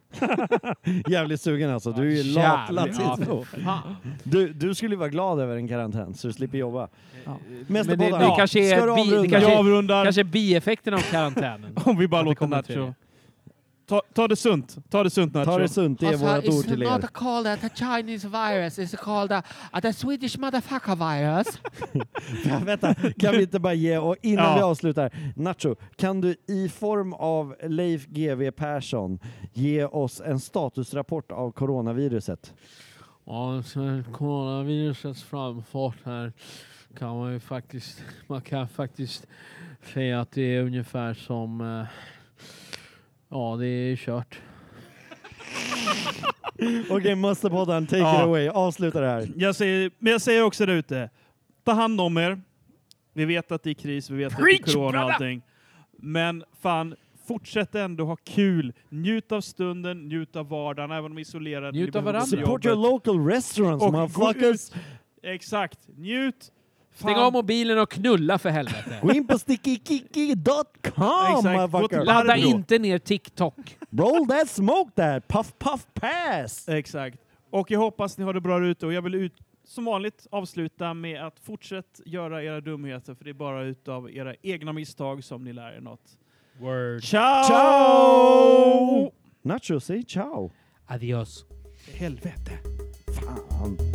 E: Jävligt sugen alltså. Du är ju lat
D: Jävlar.
E: latino.
D: Ja, fy fan.
E: Du, du skulle ju vara glad över en karantän så du slipper jobba.
D: Men det,
E: Mästerpodden.
D: det
E: Ja,
D: kanske är,
E: ska du
D: bi, det
E: avrunda?
D: kanske
C: Jag
D: är,
C: avrundar
D: kanske är bieffekten av karantänen.
C: om vi bara
D: Ja, vi
C: låter
D: kommer till
C: Nacho.
D: det.
C: Ta, ta det sunt. Ta det sunt Nacho.
E: Ta det sunt, det är
F: Also,
E: vårt
F: Alltså, it's
E: ord till er.
F: not called uh, the Chinese virus, it's called uh, uh, the Swedish motherfucker virus.
E: Ja, vänta, kan vi inte bara ge, och innan
C: Ja.
E: vi avslutar, Nacho, kan du i form av Leif GW Persson ge oss en statusrapport av coronaviruset?
D: Ja, så coronavirusets framfart här kan man ju faktiskt, man kan faktiskt säga att det är ungefär som, eh, ja det är kört.
E: Okej, Musterpodden, take
C: Ja.
E: it away, avsluta det här.
C: Jag säger, men jag säger också där ute, ta hand om er. Vi vet att det är kris, vi vet att det är corona och allting. Men fan, fortsätt ändå ha kul. Njut av stunden, njut av vardagen, även om isolerade.
D: Njut
C: ni
D: av
C: behöver
D: varandra.
C: gå till
E: Support your
C: jobbet.
E: local restaurants,
C: Och gå
E: motherfuckers!
C: ut. Exakt, njut. Fan.
D: Stäng av mobilen och knulla för helvete.
E: Gå in på stickykiki.com,
C: Exakt, gå till
E: motherfucker!
C: land.
D: Ladda
C: Barbro.
D: inte ner TikTok.
E: Roll that smoke där, puff puff pass!
C: Exakt. Och jag hoppas ni har det bra där ute och jag vill ut, som vanligt avsluta med att fortsätt göra era dumheter för det är bara utav era egna misstag som ni lär er något.
D: Word.
C: Ciao!
E: eh? Ciao! Nacho, säg ciao.
D: Adios.
C: Helvete.
E: Fan.